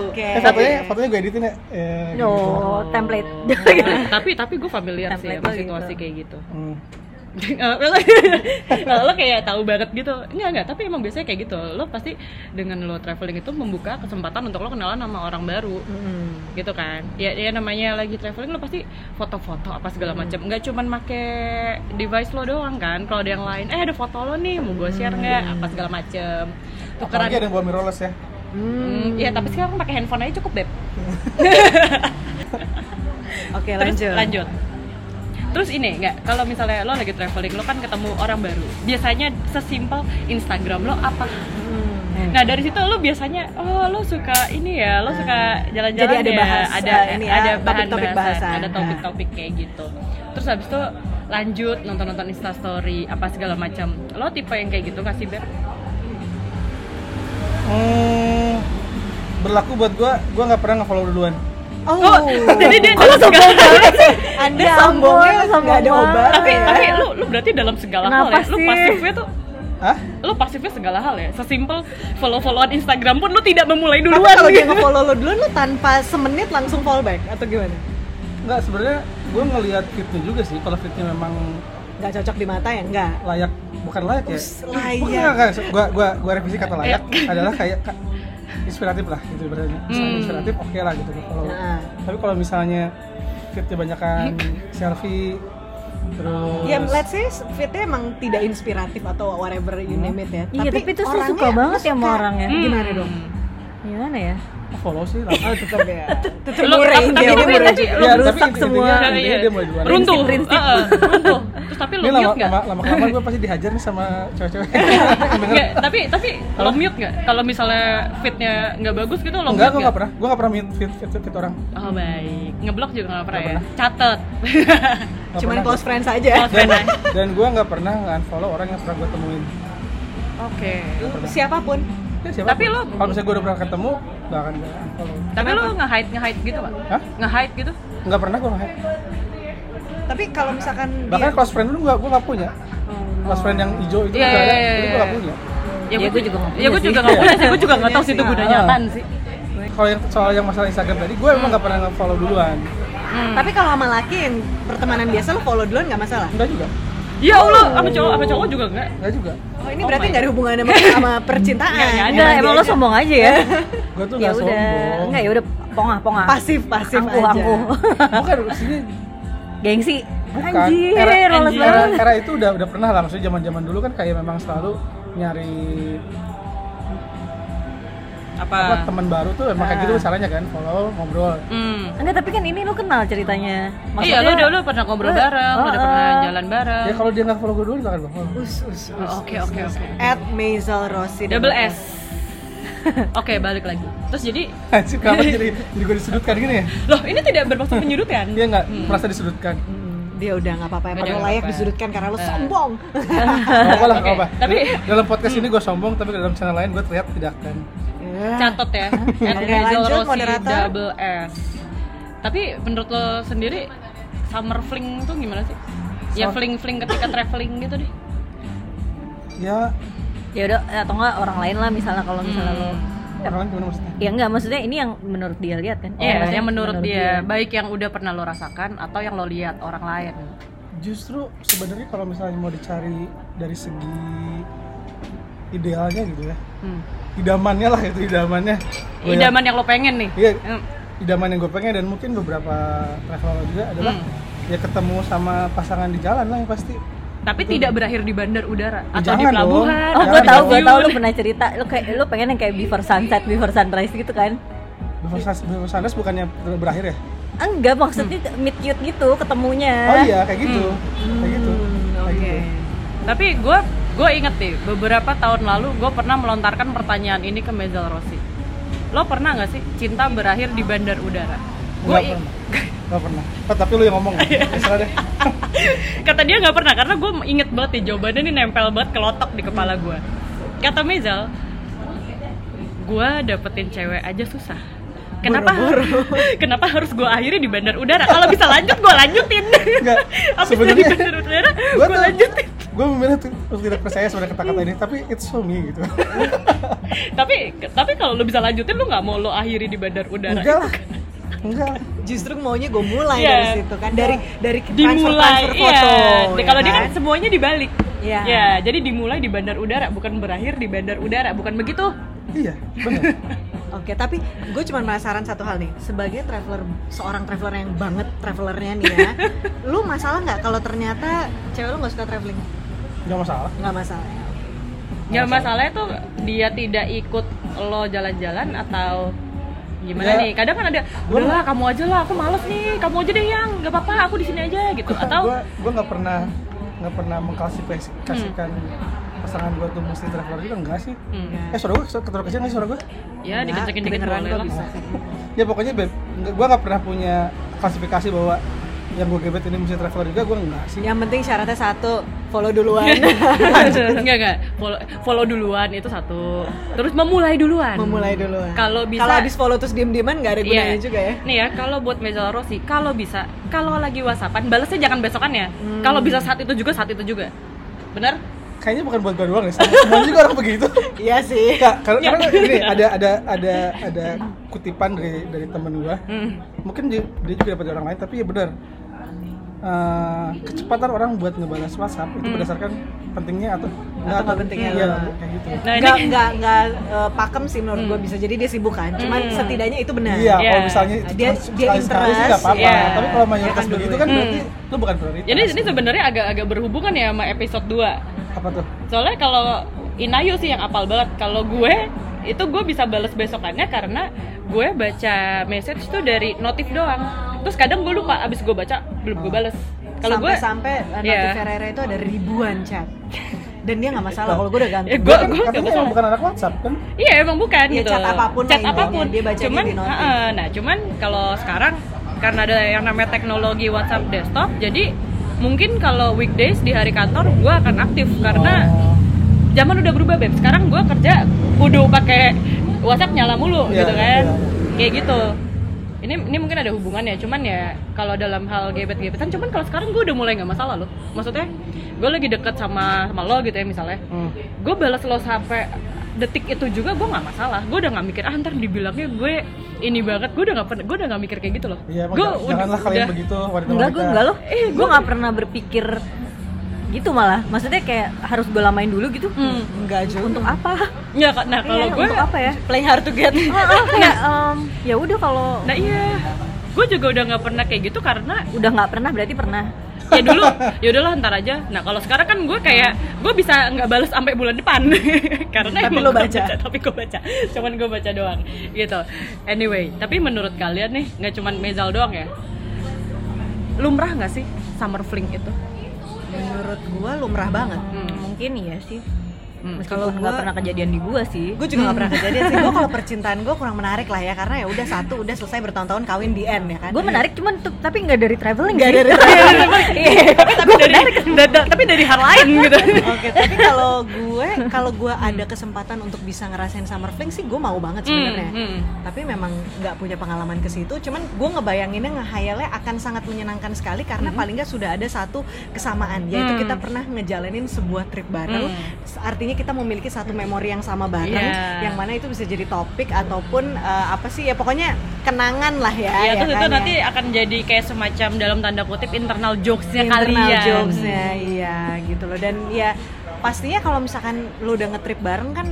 Oke. Eh, fotonya, fotonya gue editin ya. Eh, gitu. No, template. Nah, tapi tapi gue familiar sih Template sama lo situasi gitu. kayak gitu. Hmm. lo, Oh, lo kayak tahu banget gitu enggak enggak tapi emang biasanya kayak gitu lo pasti dengan lo traveling itu membuka kesempatan untuk lo kenalan sama orang baru Hmm. gitu kan ya ya namanya lagi traveling lo pasti foto-foto apa segala Hmm. macam nggak cuman make device lo doang kan kalau ada yang lain eh ada foto lo nih mau gue share nggak apa segala macem tukeran Hmm. Apalagi ada yang bawa mirrorless ya. Hmm, ya tapi sekarang pakai handphone aja cukup beb Oke, Terus lanjut. lanjut. Terus ini nggak kalau misalnya lo lagi traveling lo kan ketemu orang baru. Biasanya sesimpel Instagram lo apa? Hmm. Nah dari situ lo biasanya oh lo suka ini ya lo suka jalan-jalan Jadi ada ya, bahas- ada ini ya, ada bahan topik-topik bahasan, bahasan. Nah. ada topik-topik kayak gitu. Terus habis itu lanjut nonton-nonton instastory apa segala macam. Lo tipe yang kayak gitu kasih beb? Hmm, berlaku buat gue, gue nggak pernah nge-follow duluan. Oh, Oh, jadi dia Kok lo dalam segala Anda Ya sombongnya ampun, nggak ada sombong obat. banget. tapi tapi lo lo berarti dalam segala Kenapa hal ya. Lo sih? pasifnya tuh Hah? lo pasifnya segala hal ya sesimpel follow followan Instagram pun lo tidak memulai Tapi duluan kalau dia gitu. nge-follow lo duluan, lo tanpa semenit langsung follow back atau gimana? Nggak, sebenarnya gue ngelihat fitnya juga sih. Kalau fitnya memang Gak cocok di mata ya? Enggak. layak, bukan layak ya. Us, Bukan, layak. kan? Gua, gua, gua revisi kata layak adalah kayak ka- inspiratif lah gitu ibaratnya. Misalnya Hmm. inspiratif oke lah gitu kalau. Nah. Tapi kalau misalnya fitnya banyakan selfie terus Ya, let's say fitnya emang tidak inspiratif atau whatever you name it ya. Iya, tapi itu tuh orangnya suka banget ya sama orangnya. Hmm. Gimana dong? Gimana ya? follow sih lah. Ah, Oh, tetap ya. Tetap Lo- mureng, tapi- dia tapi- mureng tapi- juga. lo- Ya, rusak tapi intinya- semua. intinya Iya, iya. dia mulai duluan. runtuh Prinsip, prinsip. Heeh, runtuh terus tapi lo Ini lama, mute nggak lama, lama kelamaan gue pasti dihajar nih sama cewek-cewek. Nggak, tapi tapi lo mute nggak kalau misalnya fitnya nggak bagus gitu lo Enggak, mute gue nggak nggak pernah. Gue nggak pernah meet fit, fit, fit, fit orang. oh baik ngeblok juga nggak pernah Nggak ya catet Nggak Cuman pernah. close friends aja. Close friend Dan, aja. dan gue nggak pernah nge-unfollow orang yang pernah gue temuin. oke Siapapun. Ya, siapa? Tapi lo- kalau misalnya gue udah pernah ketemu, gak akan gue unfollow. tapi lo nge hide nge hide gitu pak Hah? nge hide gitu Nggak pernah gue nge Tapi kalau misalkan Bahkan dia close friend dulu gue gue nggak punya. Close friend yang hijau itu Oh. Iya, nggak ada, iya, iya, itu gue nggak iya. punya. ya Ya, gue gua juga nggak ya gue punya juga sih. nggak punya sih gue juga nggak tahu sih itu gunanya Ah. apaan sih Kalau yang soal yang masalah Instagram tadi, gue emang nggak pernah nge-follow duluan. Tapi kalau sama laki yang pertemanan biasa lo follow duluan nggak masalah. Enggak juga, ya allah sama cowok sama cowok juga nggak enggak juga. Oh ini Oh berarti my nggak ada hubungan sama, sama percintaan. Nggak, nggak ada. Enggak, emang lo sombong aja ya. Gue tuh ya nggak udah, sombong. enggak ya udah pongah pongah. Pasif pasif angkuh aja. angkuh. Bukan kan sini Gengsi. bukan. Anjir, era, roles era, banget. era itu udah udah pernah lah. Maksudnya zaman zaman dulu kan kayak memang selalu nyari apa apa teman baru tuh emang kayak gitu caranya kan follow ngobrol hmm. Enggak, tapi kan ini lo kenal ceritanya. iya, lo udah lo pernah ngobrol lo- bareng, lo udah oh, pernah oh. jalan bareng. ya kalau dia nggak follow gue dulu nggak akan gue follow Us us us. Oh, Oke, oke, oke. At Maisel Rossi. Double S. Oke, balik lagi. Terus jadi, Anjir, kenapa jadi jadi gue disudutkan gini ya loh ini tidak bermaksud menyudutkan. dia Iya, nggak merasa disudutkan Hmm, Dia udah nggak apa-apa. Udah Emang lo nggak layak apa-apa. disudutkan karena lo Eh. sombong. Gak apa lah, Oke, gak apa. tapi- Jadi, dalam podcast ini gue sombong, tapi dalam channel lain gue terlihat tidak kan. Catat ya. At Oke, Rizal lanjut, Rossi moderator. double S. Tapi menurut lo sendiri, summer fling tuh gimana sih? Ya Summer- fling-fling ketika traveling gitu deh. Ya, Ya udah atau enggak orang lain lah misalnya kalau misalnya lo orang lain gimana maksudnya? Ya enggak, maksudnya ini yang menurut dia lihat kan? Iya, maksudnya yang menurut, dia, baik yang udah pernah lo rasakan atau yang lo lihat orang lain. Justru sebenarnya kalau misalnya mau dicari dari segi idealnya gitu ya, Hmm. idamannya lah itu idamannya. Gua ya- Idaman yang lo pengen nih. Iya, Hmm. idaman yang gue pengen dan mungkin beberapa traveler juga adalah ya ketemu sama pasangan di jalan lah yang pasti. Tapi tidak berakhir di bandar udara Ya, atau di jangan dong. pelabuhan. Oh, Jangan di gue tahu, gue Stasiun. tahu lo pernah cerita, lo kayak lo pengen yang kayak before sunset, before sunrise gitu kan? Before Sun- Before Sunrise bukannya ber- berakhir ya? Enggak, maksudnya Hmm. meet cute gitu ketemunya. Oh iya, kayak gitu. Kayak gitu. Kayak Oke. gitu. Tapi gue gue inget nih beberapa tahun lalu gue pernah melontarkan pertanyaan ini ke Mezal Rossi. Lo pernah nggak sih cinta berakhir di bandar udara? Gue Nggak pernah. Nggak pernah. Oh, tapi lu yang ngomong. Terserah deh. kata dia nggak pernah karena gue inget banget nih jawabannya nih nempel banget kelotok di kepala gue. Kata Mezal gua dapetin cewek aja susah. Kenapa kenapa harus gua akhiri di bandar udara? Kalau bisa lanjut gua lanjutin. Enggak, Abis dari sebenarnya- bandar udara Gua gua, tuh- lanjutin. gue memilih tuh untuk tidak percaya sebenarnya kata-kata ini tapi it's for me gitu Tapi tapi kalau lu bisa lanjutin lu nggak mau lu akhiri di bandar udara. enggak lah enggak lah. Justru maunya gue mulai Iya. dari situ kan dari dari dimulai transfer-transfer iya. foto. Nah, ya Kalau dia kan semuanya dibalik. Iya. Ya, jadi dimulai di bandar udara bukan berakhir di bandar udara, bukan begitu? iya benar Oke, tapi gue cuma penasaran satu hal nih. Sebagai traveler, seorang traveler yang banget travelernya nih ya, lu masalah nggak kalau ternyata cewek lu nggak suka traveling? nggak masalah Nggak masalah. ya? Ya iya. masalahnya tuh dia tidak ikut lo jalan-jalan atau gimana Ya. nih? Kadang kan ada, udahlah kamu aja lah, aku males nih, kamu aja deh yang, nggak apa-apa, aku di sini aja gitu. gue Atau gue Kan nggak pernah nggak pernah mengklasifikasikan pasangan gue tuh mesti traveler juga enggak sih Hmm. eh suara gue ketua kecil nggak sih suara gue ya Nggak, dikencengin dikit kedengeran boleh kok lah. bisa. ya pokoknya beb, gue nggak pernah punya klasifikasi bahwa yang gue gebet ini mesti traveler juga gue enggak sih Yang penting syaratnya satu, follow duluan. Enggak enggak, follow, follow duluan itu satu. Terus memulai duluan. Memulai duluan. Kalau bisa Kalau habis follow terus diem-dieman nggak ada Iya. gunanya juga ya. Nih ya, kalau buat Mezal Rossi, kalau bisa, kalau lagi whatsappan, balesnya jangan besokan ya. Hmm. Kalau bisa saat itu juga, saat itu juga. Bener? kayaknya bukan buat gue doang deh sama semuanya juga orang begitu Iya sih. Nggak, karena karena gini ada ada ada ada kutipan dari dari temen gue Hmm. mungkin dia, dia juga dapat dari orang lain tapi ya benar Eh, kecepatan orang buat ngebalas WhatsApp Hmm. itu berdasarkan pentingnya atau nggak pentingnya. iya kayak gitu Nah, nggak ini Hmm. nggak nggak eh, pakem sih menurut gue bisa jadi dia sibuk kan. Cuman setidaknya itu benar. iya kalau Iya. misalnya itu Nah, Dia- cuma dia sekali-sekali sih interest, nggak apa-apa iya. tapi kalau Dia mayoritas kan begitu dulu kan ya. berarti lu bukan prioritas Jadi ini sebenarnya agak-agak berhubungan ya sama episode 2 apa tuh Soalnya kalau Inayu sih yang apal banget. Kalau gue itu gue bisa bales besokannya karena gue baca message tuh dari notif doang. Terus kadang gue lupa abis gue baca belum Oh. gue bales. Kalau gue sampai Iya. sampai yeah. eh, Ferreira itu ada ribuan chat. Dan dia nggak masalah kalau gue udah Ya, ganti. gua- Kan gua katanya nggak emang salah. bukan anak WhatsApp kan Iya emang bukan Iya, gitu. chat apapun Chat lah apapun. intinya, dia gitu, bacanya cuman, di notif. heeh, nah cuman kalau sekarang karena ada yang namanya teknologi WhatsApp desktop, jadi mungkin kalau weekdays di hari kantor gue akan aktif karena Oh. zaman udah berubah beb. Sekarang gue kerja kudu pakai WhatsApp nyala mulu Iya, gitu kan, iya. kayak gitu. Ini ini mungkin ada hubungannya, cuman ya kalau dalam hal gebet-gebetan, cuman kalau sekarang gue udah mulai nggak masalah loh. Maksudnya gue lagi deket sama sama lo gitu ya misalnya Hmm. gue balas lo sampai detik itu juga gue nggak masalah gue udah nggak mikir ah ntar dibilangnya gue ini banget gue udah nggak pernah gue udah nggak mikir kayak gitu loh Iya, emang gue jangan- janganlah kalian begitu wanita Enggak, gue enggak loh. Eh, gue nggak pernah berpikir gitu malah. Maksudnya kayak harus gue lamain dulu gitu. hmm. Enggak juga. Untuk apa? ya Kak. nah kalau Iya, gue untuk apa ya? playing hard to get. Ah, ah, kayak em, ya udah kalau nah iya gue juga udah nggak pernah kayak gitu karena udah nggak pernah berarti pernah. ya dulu ya udahlah ntar aja nah kalau sekarang kan gue kayak gue bisa nggak balas sampai bulan depan karena Tapi emang lo gua baca. tapi gue baca cuman gue baca doang gitu anyway tapi menurut kalian nih nggak cuman Mezal doang ya lumrah nggak sih summer fling itu Menurut gue lumrah banget. Hmm. Mungkin iya sih. Hmm. Kalau Meskipun nggak gua- pernah kejadian di gue sih. Gue juga gak pernah kejadian sih. Gue kalau percintaan gue kurang menarik lah ya karena ya udah satu udah selesai bertahun-tahun kawin di end ya kan. Gue menarik cuman tuh- tapi nggak dari traveling. Nggak sih. dari Iya. tapi dari da- da- tapi dari hal lain gitu Oke, tapi kalau gue kalau gue ada kesempatan untuk bisa ngerasain summer fling sih gue mau banget sebenarnya. Hmm, hmm. Tapi memang nggak punya pengalaman ke situ. Cuman gue ngebayanginnya ngehayalnya akan sangat menyenangkan sekali karena paling nggak sudah ada satu kesamaan yaitu Hmm. kita pernah ngejalanin sebuah trip bareng. Hmm. Artinya kita memiliki satu memori yang sama bareng, Iya. yang mana itu bisa jadi topik ataupun eh, apa sih ya pokoknya kenangan lah ya. ya terus kan, itu ya. nanti akan jadi kayak semacam dalam tanda kutip internal jokesnya internal kalian jokesnya iya gitu loh dan ya pastinya kalau misalkan lo udah ngetrip bareng kan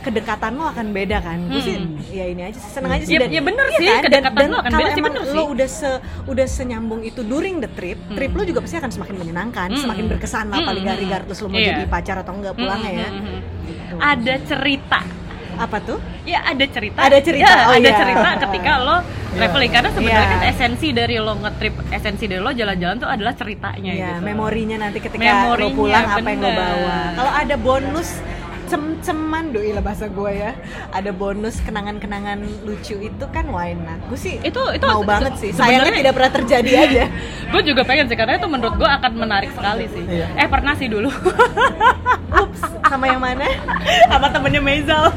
kedekatan lo akan beda kan gue sih Hmm. ya ini aja sih seneng aja sih Ya- ya bener sih, Dan- kedekatan dan lo akan kalau beda sih, emang bener lo sih. udah se udah senyambung itu during the trip trip lo juga pasti akan semakin menyenangkan Hmm. semakin berkesan lah Hmm. paling gak regardless lo mau Iya. jadi pacar atau enggak pulangnya ya Hmm, hmm, hmm. ada cerita apa tuh ya ada cerita Ada cerita, Ya, oh ada iya. cerita ketika lo traveling karena sebenarnya Iya. kan esensi dari lo ngetrip esensi dari lo jalan-jalan tuh adalah ceritanya ya gitu memorinya nanti ketika lo Memorinya, pulang apa yang lo bener. bawa kalau ada bonus cem-ceman doi lah bahasa gue ya ada bonus kenangan-kenangan lucu itu kan why not gue sih Itu- itu mau se- banget se- sih sayangnya sebenarnya- tidak pernah terjadi aja gue juga pengen sih karena itu menurut gue akan menarik sekali sih Iya. eh pernah sih dulu ups sama yang mana sama temennya Mezal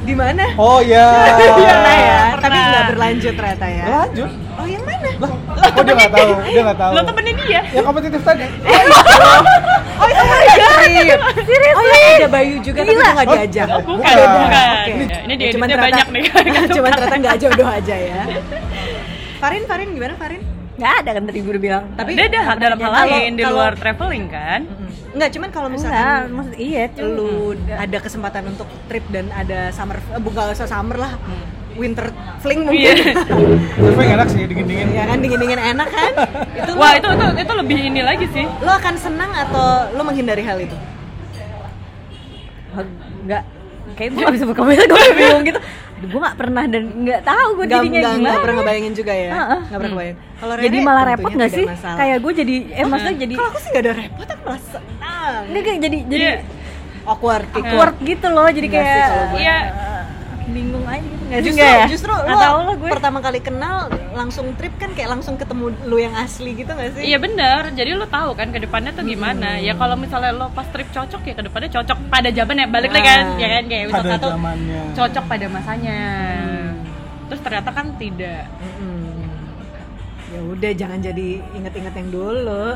Di mana? Oh iya. Pernah ya, Pernah. tapi nggak berlanjut ternyata ya. Lanjut. Oh yang mana? Lah, oh dia nggak tahu, dia nggak tahu. Lo temennya dia. Yang kompetitif tadi. Oh itu Bayu. Oh ya ada Bayu juga tapi dia nggak Oh, diajak. oh, Bukan, Bukan. bukan. Oke. Ya, Ini dia Cuman editnya ternyata- banyak nih. kan. Nggak Cuman suka. ternyata nggak jodoh aja ya. Farin, Farin gimana Farin? nggak ada kan tadi gue udah bilang Tapi- Dia ada dalam hal Kalau- lain di kalau- luar traveling kan. Enggak, Hmm. cuman kalau enggak misalkan maksud iya cuman- lu ada kesempatan untuk trip dan ada summer, eh, bukan usah summer lah, winter fling mungkin. Iya. Terus gue enak sih dingin-dingin. ya kan dingin-dingin enak kan? Itu Wah, lo, itu itu itu lebih ini lagi sih. lo akan senang atau lo menghindari hal itu? nggak kayak gue gak bisa berkomentar gue udah bingung gitu aduh gue gak pernah dan nggak tahu gue Gak, jadinya gak, gimana pernah ngebayangin juga ya? Heeh. Nggak pernah ngebayangin. Kalau jadi Rere malah tentunya repot gak tidak sih masalah. kayak gue jadi eh maksudnya jadi Kalau aku sih gak ada repot, aku malah senang. enggak kayak jadi jadi Iya. Awkward, awkward gitu loh jadi Enggak sih kayak kalau gue. Iya. bingung aja gitu nggak Justru, juga ya justru Nggak lo, tahu lah gue pertama kali kenal langsung trip kan kayak langsung ketemu lu yang asli gitu gak sih? Iya bener, jadi lo tahu kan ke depannya tuh gimana Ya kalau misalnya lo pas trip cocok ya ke depannya cocok pada zamannya Balik lagi kan, Ah. ya kan kayak Pada wisata tuh zamannya. cocok pada masanya Terus ternyata kan tidak Mm-mm. Hmm. Ya udah jangan jadi inget-inget yang dulu.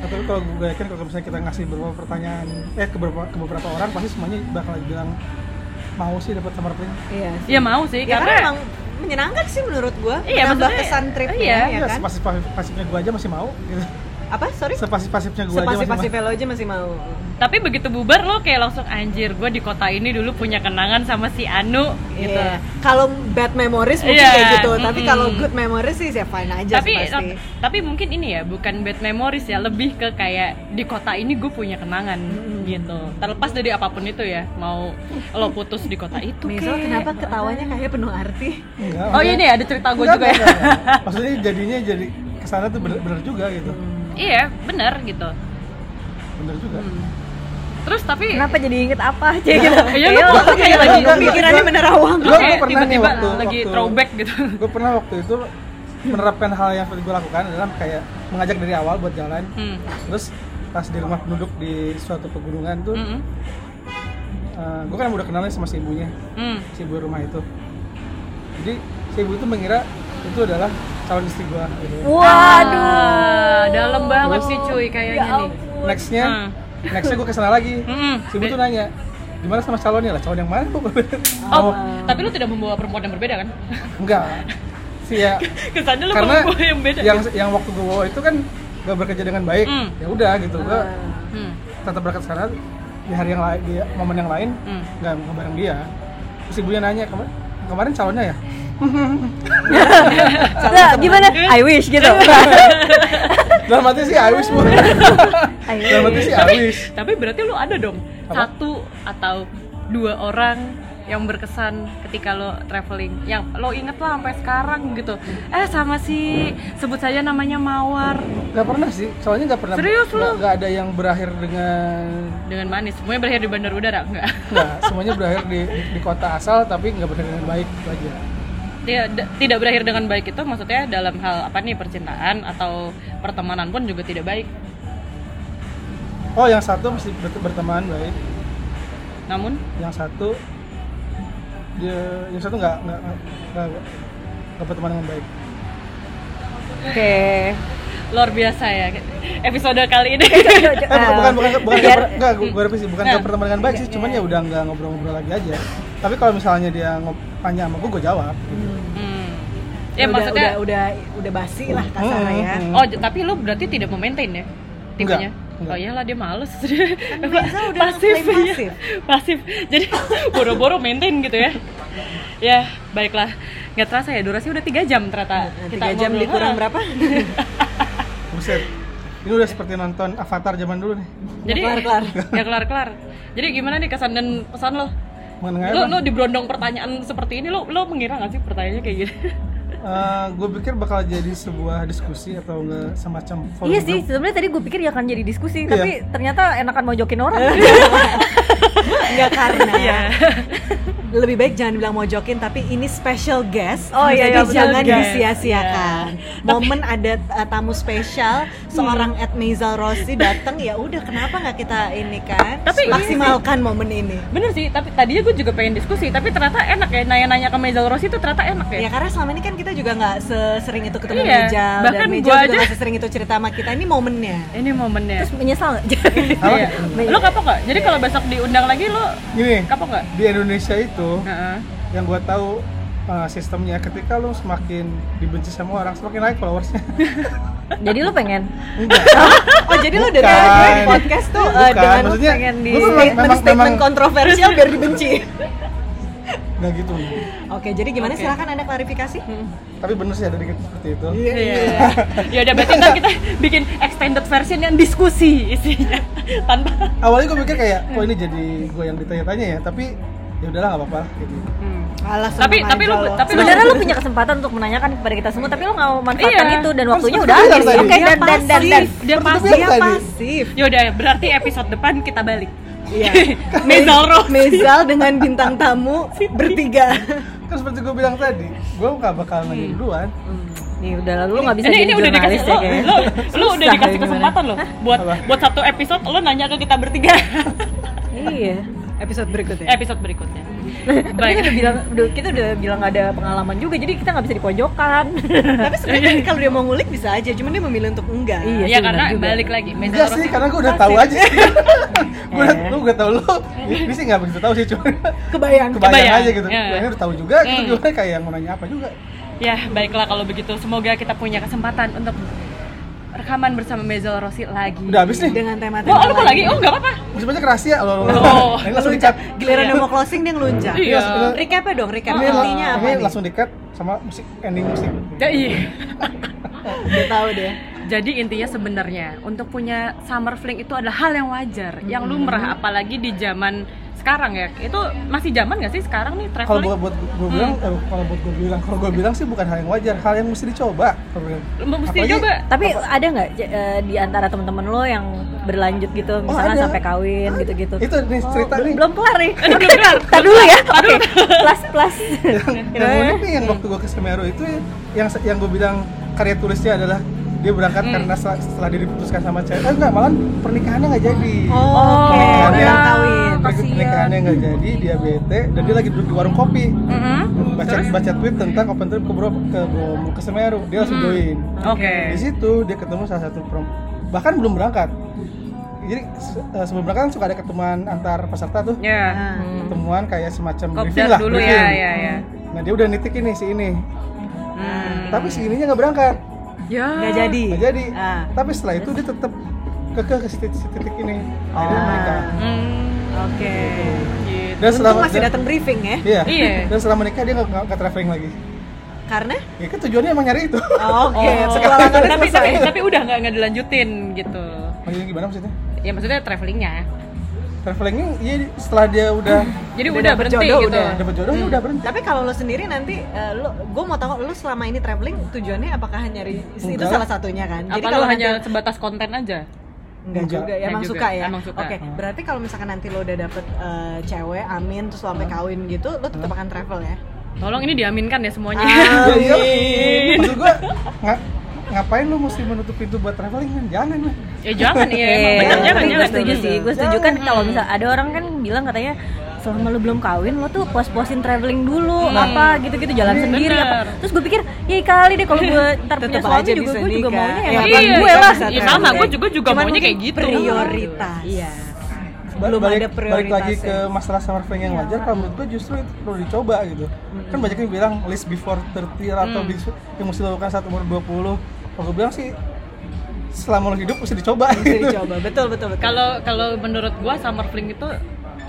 Tapi kalau gue yakin kalau misalnya kita ngasih beberapa pertanyaan eh ke beberapa, ke beberapa orang pasti semuanya bakal bilang mau sih dapat summer fling. Iya. sih. Ya mau sih, Ya, karena karena emang menyenangkan sih menurut gua. Iya, Menambah maksudnya- kesan trip iya. ya Iya, kan. sepasif-pasifnya gue aja masih mau. Gitu. Apa? Sorry. Sepasif-pasifnya gue aja masih Sepasif-pasif mau. lo aja masih mau. tapi begitu bubar lo kayak langsung anjir gue di kota ini dulu punya kenangan sama si Anu gitu Iya. Kalau bad memories mungkin Iya, kayak gitu, tapi mm-mm. kalau good memories sih ya fine aja tapi eh, sih pasti. tapi mungkin ini ya bukan bad memories ya lebih ke kayak di kota ini gue punya kenangan gitu terlepas dari apapun itu ya mau lo putus di kota itu Miso, kek. kenapa ketawanya kayak penuh arti? Enggak, oh maksudnya- ini ada cerita gue Enggak, juga ya enggak, enggak. Maksudnya jadinya jadi kesana tuh bener, bener juga gitu. iya bener gitu Bener juga. terus tapi kenapa jadi inget apa aja gitu Iya, lu gua tuh kayak lagi- Enggak, enggak, Pikirannya gua- menerawang. lo gua- gua kayak pernah nih tiba-tiba waktu- lagi waktu- throwback gitu gue pernah waktu itu menerapkan hal yang seperti gue lakukan adalah kayak mengajak dari awal buat jalan Hmm. terus pas di rumah penduduk di suatu pegunungan tuh Mm-mm. gue kan udah kenalnya sama si ibunya Hmm. si ibu rumah itu jadi si ibu itu mengira itu adalah calon istri gue gitu. waduh Ah, dalam banget Oh. sih cuy Ya kayaknya nih nextnya Hmm. nextnya gue kesana lagi Mm-mm. si ibu tuh nanya gimana sama calonnya lah calon yang mana Oh, tapi lu tidak membawa perempuan yang berbeda kan? enggak si ya Kesannya lu karena membawa yang beda. ya? yang yang waktu gue bawa itu kan gak bekerja dengan baik Hmm. ya udah gitu gue Hmm. tetap berangkat sana di hari yang lain di momen yang lain Hmm. nggak nggak bareng dia terus ibunya nanya "Kemar- kemarin calonnya ya Nah, gimana I wish gitu dalam hati sih I wish Bu. I dalam hati sih I wish Tapi berarti lu ada dong Apa? satu atau dua orang yang berkesan ketika lo traveling yang lo inget lah sampai sekarang gitu eh sama si sebut saja namanya Mawar nggak pernah sih soalnya nggak pernah Serius lu? nggak- nggak ada yang berakhir dengan dengan manis semuanya berakhir di bandar udara enggak nggak semuanya berakhir di, di kota asal tapi nggak berakhir dengan baik itu aja tidak tidak berakhir dengan baik itu maksudnya dalam hal apa nih percintaan atau pertemanan pun juga tidak baik oh yang satu mesti ber- berteman baik namun yang satu dia yang satu nggak nggak nggak- nggak nggak berteman dengan baik oke luar biasa ya episode kali ini Eh, bu- bukan bukan bukan biar- nggak enggak gue gue revisi bukan Nah. nggak pertemanan baik sih cuman ya udah nggak ngobrol-ngobrol lagi aja tapi kalau misalnya dia ngop- tanya sama gue gue jawab Hmm. Ya, ya udah, maksudnya udah udah udah basi lah kasarnya ya. Hmm, hmm, Oh, j- tapi lo berarti tidak memaintain ya? Tipenya? Enggak, enggak. Oh iyalah dia males Riza Kan udah pasif, ngeklaim iya. pasif. pasif. Jadi boro-boro maintain gitu ya Ya, baiklah Nggak terasa ya, durasi udah 3 jam ternyata Nah, Tiga jam ngobrol. dikurang Ah. berapa? hmm. buset ini udah seperti nonton Avatar zaman dulu nih Jadi, Nggak kelar-kelar. nggak kelar-kelar Jadi gimana nih kesan dan pesan lo? mengenai Lo, lo diberondong pertanyaan seperti ini, lo, lo mengira nggak sih pertanyaannya kayak gini? gue Eh, pikir bakal jadi sebuah diskusi atau enggak semacam forum Iya sih, grup. sebenarnya tadi gue pikir ya akan jadi diskusi, Iya. tapi ternyata enakan mojokin orang. Enggak karena. Iya lebih baik jangan dibilang mojokin tapi ini special guest Oh, iya, jadi iya, betul, jangan guest. disia-siakan momen ada uh, tamu spesial seorang Ed Maisel Rossi datang ya udah kenapa nggak kita ini kan Tapi iya maksimalkan momen ini Bener sih, tapi tadinya gue juga pengen diskusi, tapi ternyata enak ya nanya-nanya ke Mezal Rossi itu ternyata enak ya. Ya Iya. karena selama ini kan kita juga nggak sesering itu ketemu Iya, Mejal bahkan dan Mejal gua juga aja- nggak sesering itu cerita sama kita ini momennya. Ini momennya. terus menyesal nggak? Iya. Apa? Lo kapok nggak? Jadi kalau besok diundang lagi lo Gini, kapok nggak? di Indonesia itu Heeh. yang gue tahu uh, sistemnya ketika lo semakin dibenci sama orang semakin naik followersnya jadi lu pengen Oh jadi lo dari Bukan. awal di podcast tuh Bukan, eh, dengan maksudnya pengen di- gua memang- memang, memang statement-statement kontroversial biar dibenci. nggak gitu Oke, jadi gimana? Oke. Silakan Anda klarifikasi. tapi bener sih ada dikit seperti itu Iya. Ya udah berarti ntar kita bikin extended version yang diskusi isinya tanpa awalnya gue mikir kayak kok ini jadi gue yang ditanya-tanya ya tapi ya udahlah nggak apa-apa gitu Alas Tapi- sama tapi lo- Mejal tapi lo- sebenarnya lu punya kesempatan untuk menanyakan kepada kita semua tapi lu nggak mau manfaatkan Iya. itu dan Harus waktunya seperti udah itu habis tadi. oke dan dan dan dan Pasif. dia Seperti pasti. biasa Dia tadi. pasif. Ya udah berarti episode depan kita balik. Iya. Mezal Rossi. Mezal dengan bintang tamu bertiga. kan seperti gue bilang tadi gue nggak bakal nanya duluan Hmm. nih udah lah, lu nggak bisa ini, jadi ini udah jurnalis dikasih ya lo, kayaknya lo, lo udah Susah dikasih ya gimana. kesempatan lo buat Apa? buat satu episode lo nanya ke kita bertiga iya Episode berikutnya. episode berikutnya. Tapi Baik. kita udah Ya, bilang udah- kita udah bilang nggak ada pengalaman juga jadi kita nggak bisa dipojokan Tapi sebenarnya kalau dia mau ngulik bisa aja, cuman dia memilih untuk enggak. Iya. Iya sih, karena benar juga. balik lagi Mezal enggak Iya sih Rossi kan karena gue udah pasti. tahu aja gue udah lu udah tahu lu ini sih nggak begitu tahu sih cuma Kebayang. kebayang, Kebayang. aja gitu Ya. ini udah tahu juga gitu Hmm. gimana kayak yang mau nanya apa juga Ya, baiklah kalau begitu. Semoga kita punya kesempatan untuk rekaman bersama Mezal Rossi lagi. udah habis nih Dengan tema-tema. Oh, lu mau lagi? Oh, nggak apa-apa. sebenarnya rahasia lo lo Oh. ini langsung dicat Giliran Iya. udah mau closing dia ngelunjak. Iya. Recap ya dong, recap. ini, Intinya apa ini nih? langsung dicat sama musik ending musik Ya, iya. Udah tahu deh. Jadi intinya sebenarnya untuk punya summer fling itu adalah hal yang wajar, yang lumrah apalagi di zaman sekarang ya. Itu masih zaman nggak sih sekarang nih kalau buat traveling? buat gue bilang eh, kalau buat gue bilang kalau gue bilang sih bukan hal yang wajar hal yang mesti dicoba Gua bilang. Lu mesti Apalagi- coba. tapi ada nggak j- eh, di antara teman-teman lo yang berlanjut Oh, gitu misalnya Oh, ada. sampai kawin gitu-gitu Oh, itu nih cerita nih belum kelar nih Aduh, Ah, iya. belum kelar. Tar dulu ya Tar dulu. oke plus plus yang, yang Iya. unik nih yang waktu gue ke Semeru itu yang yang gue bilang karya tulisnya adalah dia berangkat karena setelah, setelah dia diputuskan sama cewek eh, enggak malah pernikahannya nggak jadi Oh, Oh, Oke, Pernikahannya- udah kawin. Pernikahan- iya. gitu, pernikahannya nggak jadi dia bete dan dia lagi duduk di warung kopi Mm-mm. baca Mm-hmm. Terus? baca tweet tentang open trip ke Bro- ke Bromo ke Semeru dia langsung join Mm-hmm. Oke. di situ dia ketemu salah satu perempuan bahkan belum berangkat jadi se- eh, sebelum berangkat kan suka ada ketemuan antar peserta tuh Ya. ketemuan kayak semacam briefing Kopdar lah dulu ya, briefing. ya, ya. Nah dia udah nitik ini si ini, Hmm. tapi si ininya nggak berangkat, Ya. Nggak jadi. nggak jadi. Ah. Tapi setelah itu dia tetap kekeh ke si titik, si titik ini, akhirnya Ah. menikah. Hmm. Oke. Gitu. Dan Untung masih dan- datang briefing ya. Iya. Iya. Dan setelah menikah dia nggak nggak nggak traveling lagi. Karena Ya kan tujuannya emang nyari itu. Oh, Oke, Oh. petualangannya tapi, selesai. tapi, tapi udah nggak nggak dilanjutin gitu. Maksudnya gimana maksudnya? Ya maksudnya travelingnya. Travelingnya iya setelah dia udah Jadi udah dapet berhenti jodoh, gitu. udah. dapat jodoh ya udah berhenti. Tapi kalau lo sendiri nanti, eh, lo, gue mau tahu lo selama ini traveling tujuannya apakah nyari itu Enggak. salah satunya kan? Apa lu kalau nanti- hanya sebatas konten aja? Enggak Enggak. juga, ya, Enggak emang juga, suka ya. emang suka. Oke, berarti kalau misalkan nanti lo udah dapet eh, cewek, amin, terus lo sampai kawin gitu, lo tetap akan travel ya? Tolong ini diaminkan ya semuanya. Ya, iya. Maksud gua nga- ngapain lu mesti menutup pintu buat traveling kan? Jangan lah. ya jangan ya, emang Iya, bener jangan tapi gue jangan. setuju sih gue setuju kan kalau misal ada orang kan bilang katanya selama lu belum kawin lo tuh puas-puasin traveling dulu apa gitu-gitu jalan sendiri apa bener. terus gue pikir ya kali deh kalau gue ntar Tetep punya suami aja juga bisa gue juga nikah. maunya Iya, yang iya, abang gue iya, lah gitu." iya, sama, gue juga juga Cuman maunya mungkin kayak gitu. Prioritas. iya Ba- Belum balik, ada balik lagi prioritasnya. ke masalah summer fling yang wajar kalau menurut gue justru itu perlu dicoba gitu kan banyak yang bilang list before 30 atau bis- yang mesti dilakukan saat umur 20 kalau gue bilang sih selama lo hidup mesti dicoba Bisa gitu dicoba, betul, betul, betul. Kalau kalau menurut gua summer fling itu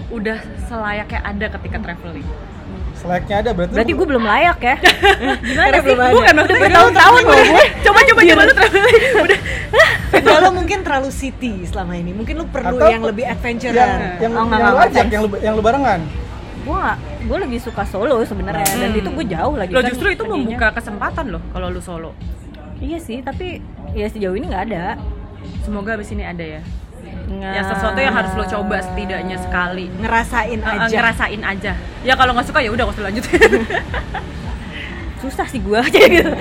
udah selayaknya ada ketika traveling. selayaknya ada berarti, berarti gue belum layak ya gimana Karena sih belum ada. bukan maksudnya bertahun-tahun loh gue Coba coba coba lu traveling. Udah. Enggak, lo mungkin terlalu city selama ini, mungkin lo perlu Atau- yang lebih yang adventurer. yang, yang, Oh, nggak, lo nggak, ajak nggak. yang, lu- yang lu barengan gue gue lebih suka solo sebenarnya dan Hmm. itu gue jauh lagi Lo kan justru itu perginya. membuka kesempatan loh kalau lu solo. iya sih tapi ya sejauh ini nggak ada Semoga abis ini ada ya. ya sesuatu yang harus lo coba setidaknya sekali ngerasain Eh, eh, aja ngerasain aja ya kalau nggak suka ya udah nggak usah lanjut susah sih gue aja gitu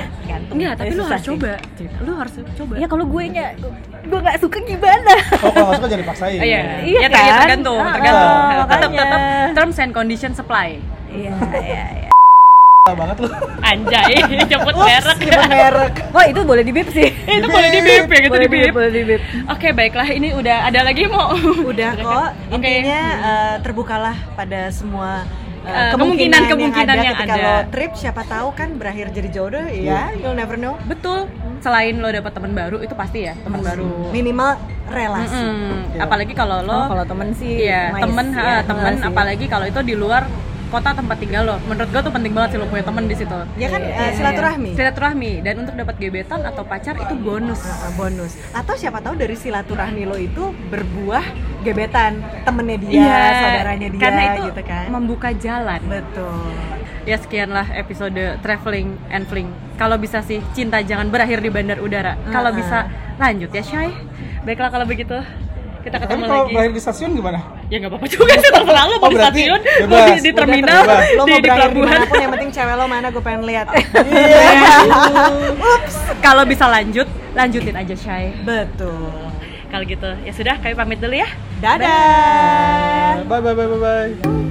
Enggak, tapi lo susah harus sih. coba lo harus coba ya kalau gue nya gue nggak suka gimana oh kalau nggak suka jangan dipaksain Oh, iya, Iya Ya, ter- ya, kan? tergantung, Ah, tergantung. ah, tetap, makanya. tetap terms and condition supply. iya iya iya Salah banget lu Anjay, cepet merek. Nyebut merek wah Oh, itu boleh di bip sih Itu boleh di bip ya, gitu boleh di bip. boleh di bip Oke, baiklah ini udah ada lagi mau. udah kok kan? Oke. intinya eh, terbukalah pada semua eh, Eh, kemungkinan-kemungkinan yang ketika ada. lo trip siapa tahu kan berakhir jadi jodoh ya you'll never know Betul. Selain lo dapet teman baru itu pasti ya, teman baru. minimal relasi Mm-mm. Apalagi kalau lo oh, kalau temen sih Iya, nice, temen, iya. ya. ha, temen, Nice sih. apalagi kalau itu di luar kota tempat tinggal lo. Menurut gua tuh penting banget sih lo punya temen di situ. ya kan eh, Iya, iya. silaturahmi Silaturahmi dan untuk dapat gebetan atau pacar itu bonus. Eh, bonus atau siapa tahu dari silaturahmi lo itu berbuah gebetan temennya dia Iya, saudaranya dia karena itu gitu kan membuka jalan. betul Ya sekianlah episode traveling and fling. Kalau bisa sih cinta jangan berakhir di bandar udara. Ah. Kalau Uh-uh. bisa lanjut ya Shay. Baiklah kalau begitu kita tapi ketemu kalau lagi. berakhir di stasiun gimana Ya nggak apa-apa juga sih terserah lalu mau Oh, di berarti stasiun, mau di, bebas. di Udah terminal, terbebas. lo di, mau di berakhir pelabuhan. dimanapun yang penting cewek lo mana gue pengen lihat Kalau bisa lanjut, lanjutin aja Shay. betul Kalau gitu ya sudah kami pamit dulu ya. dadah bye bye bye bye, bye.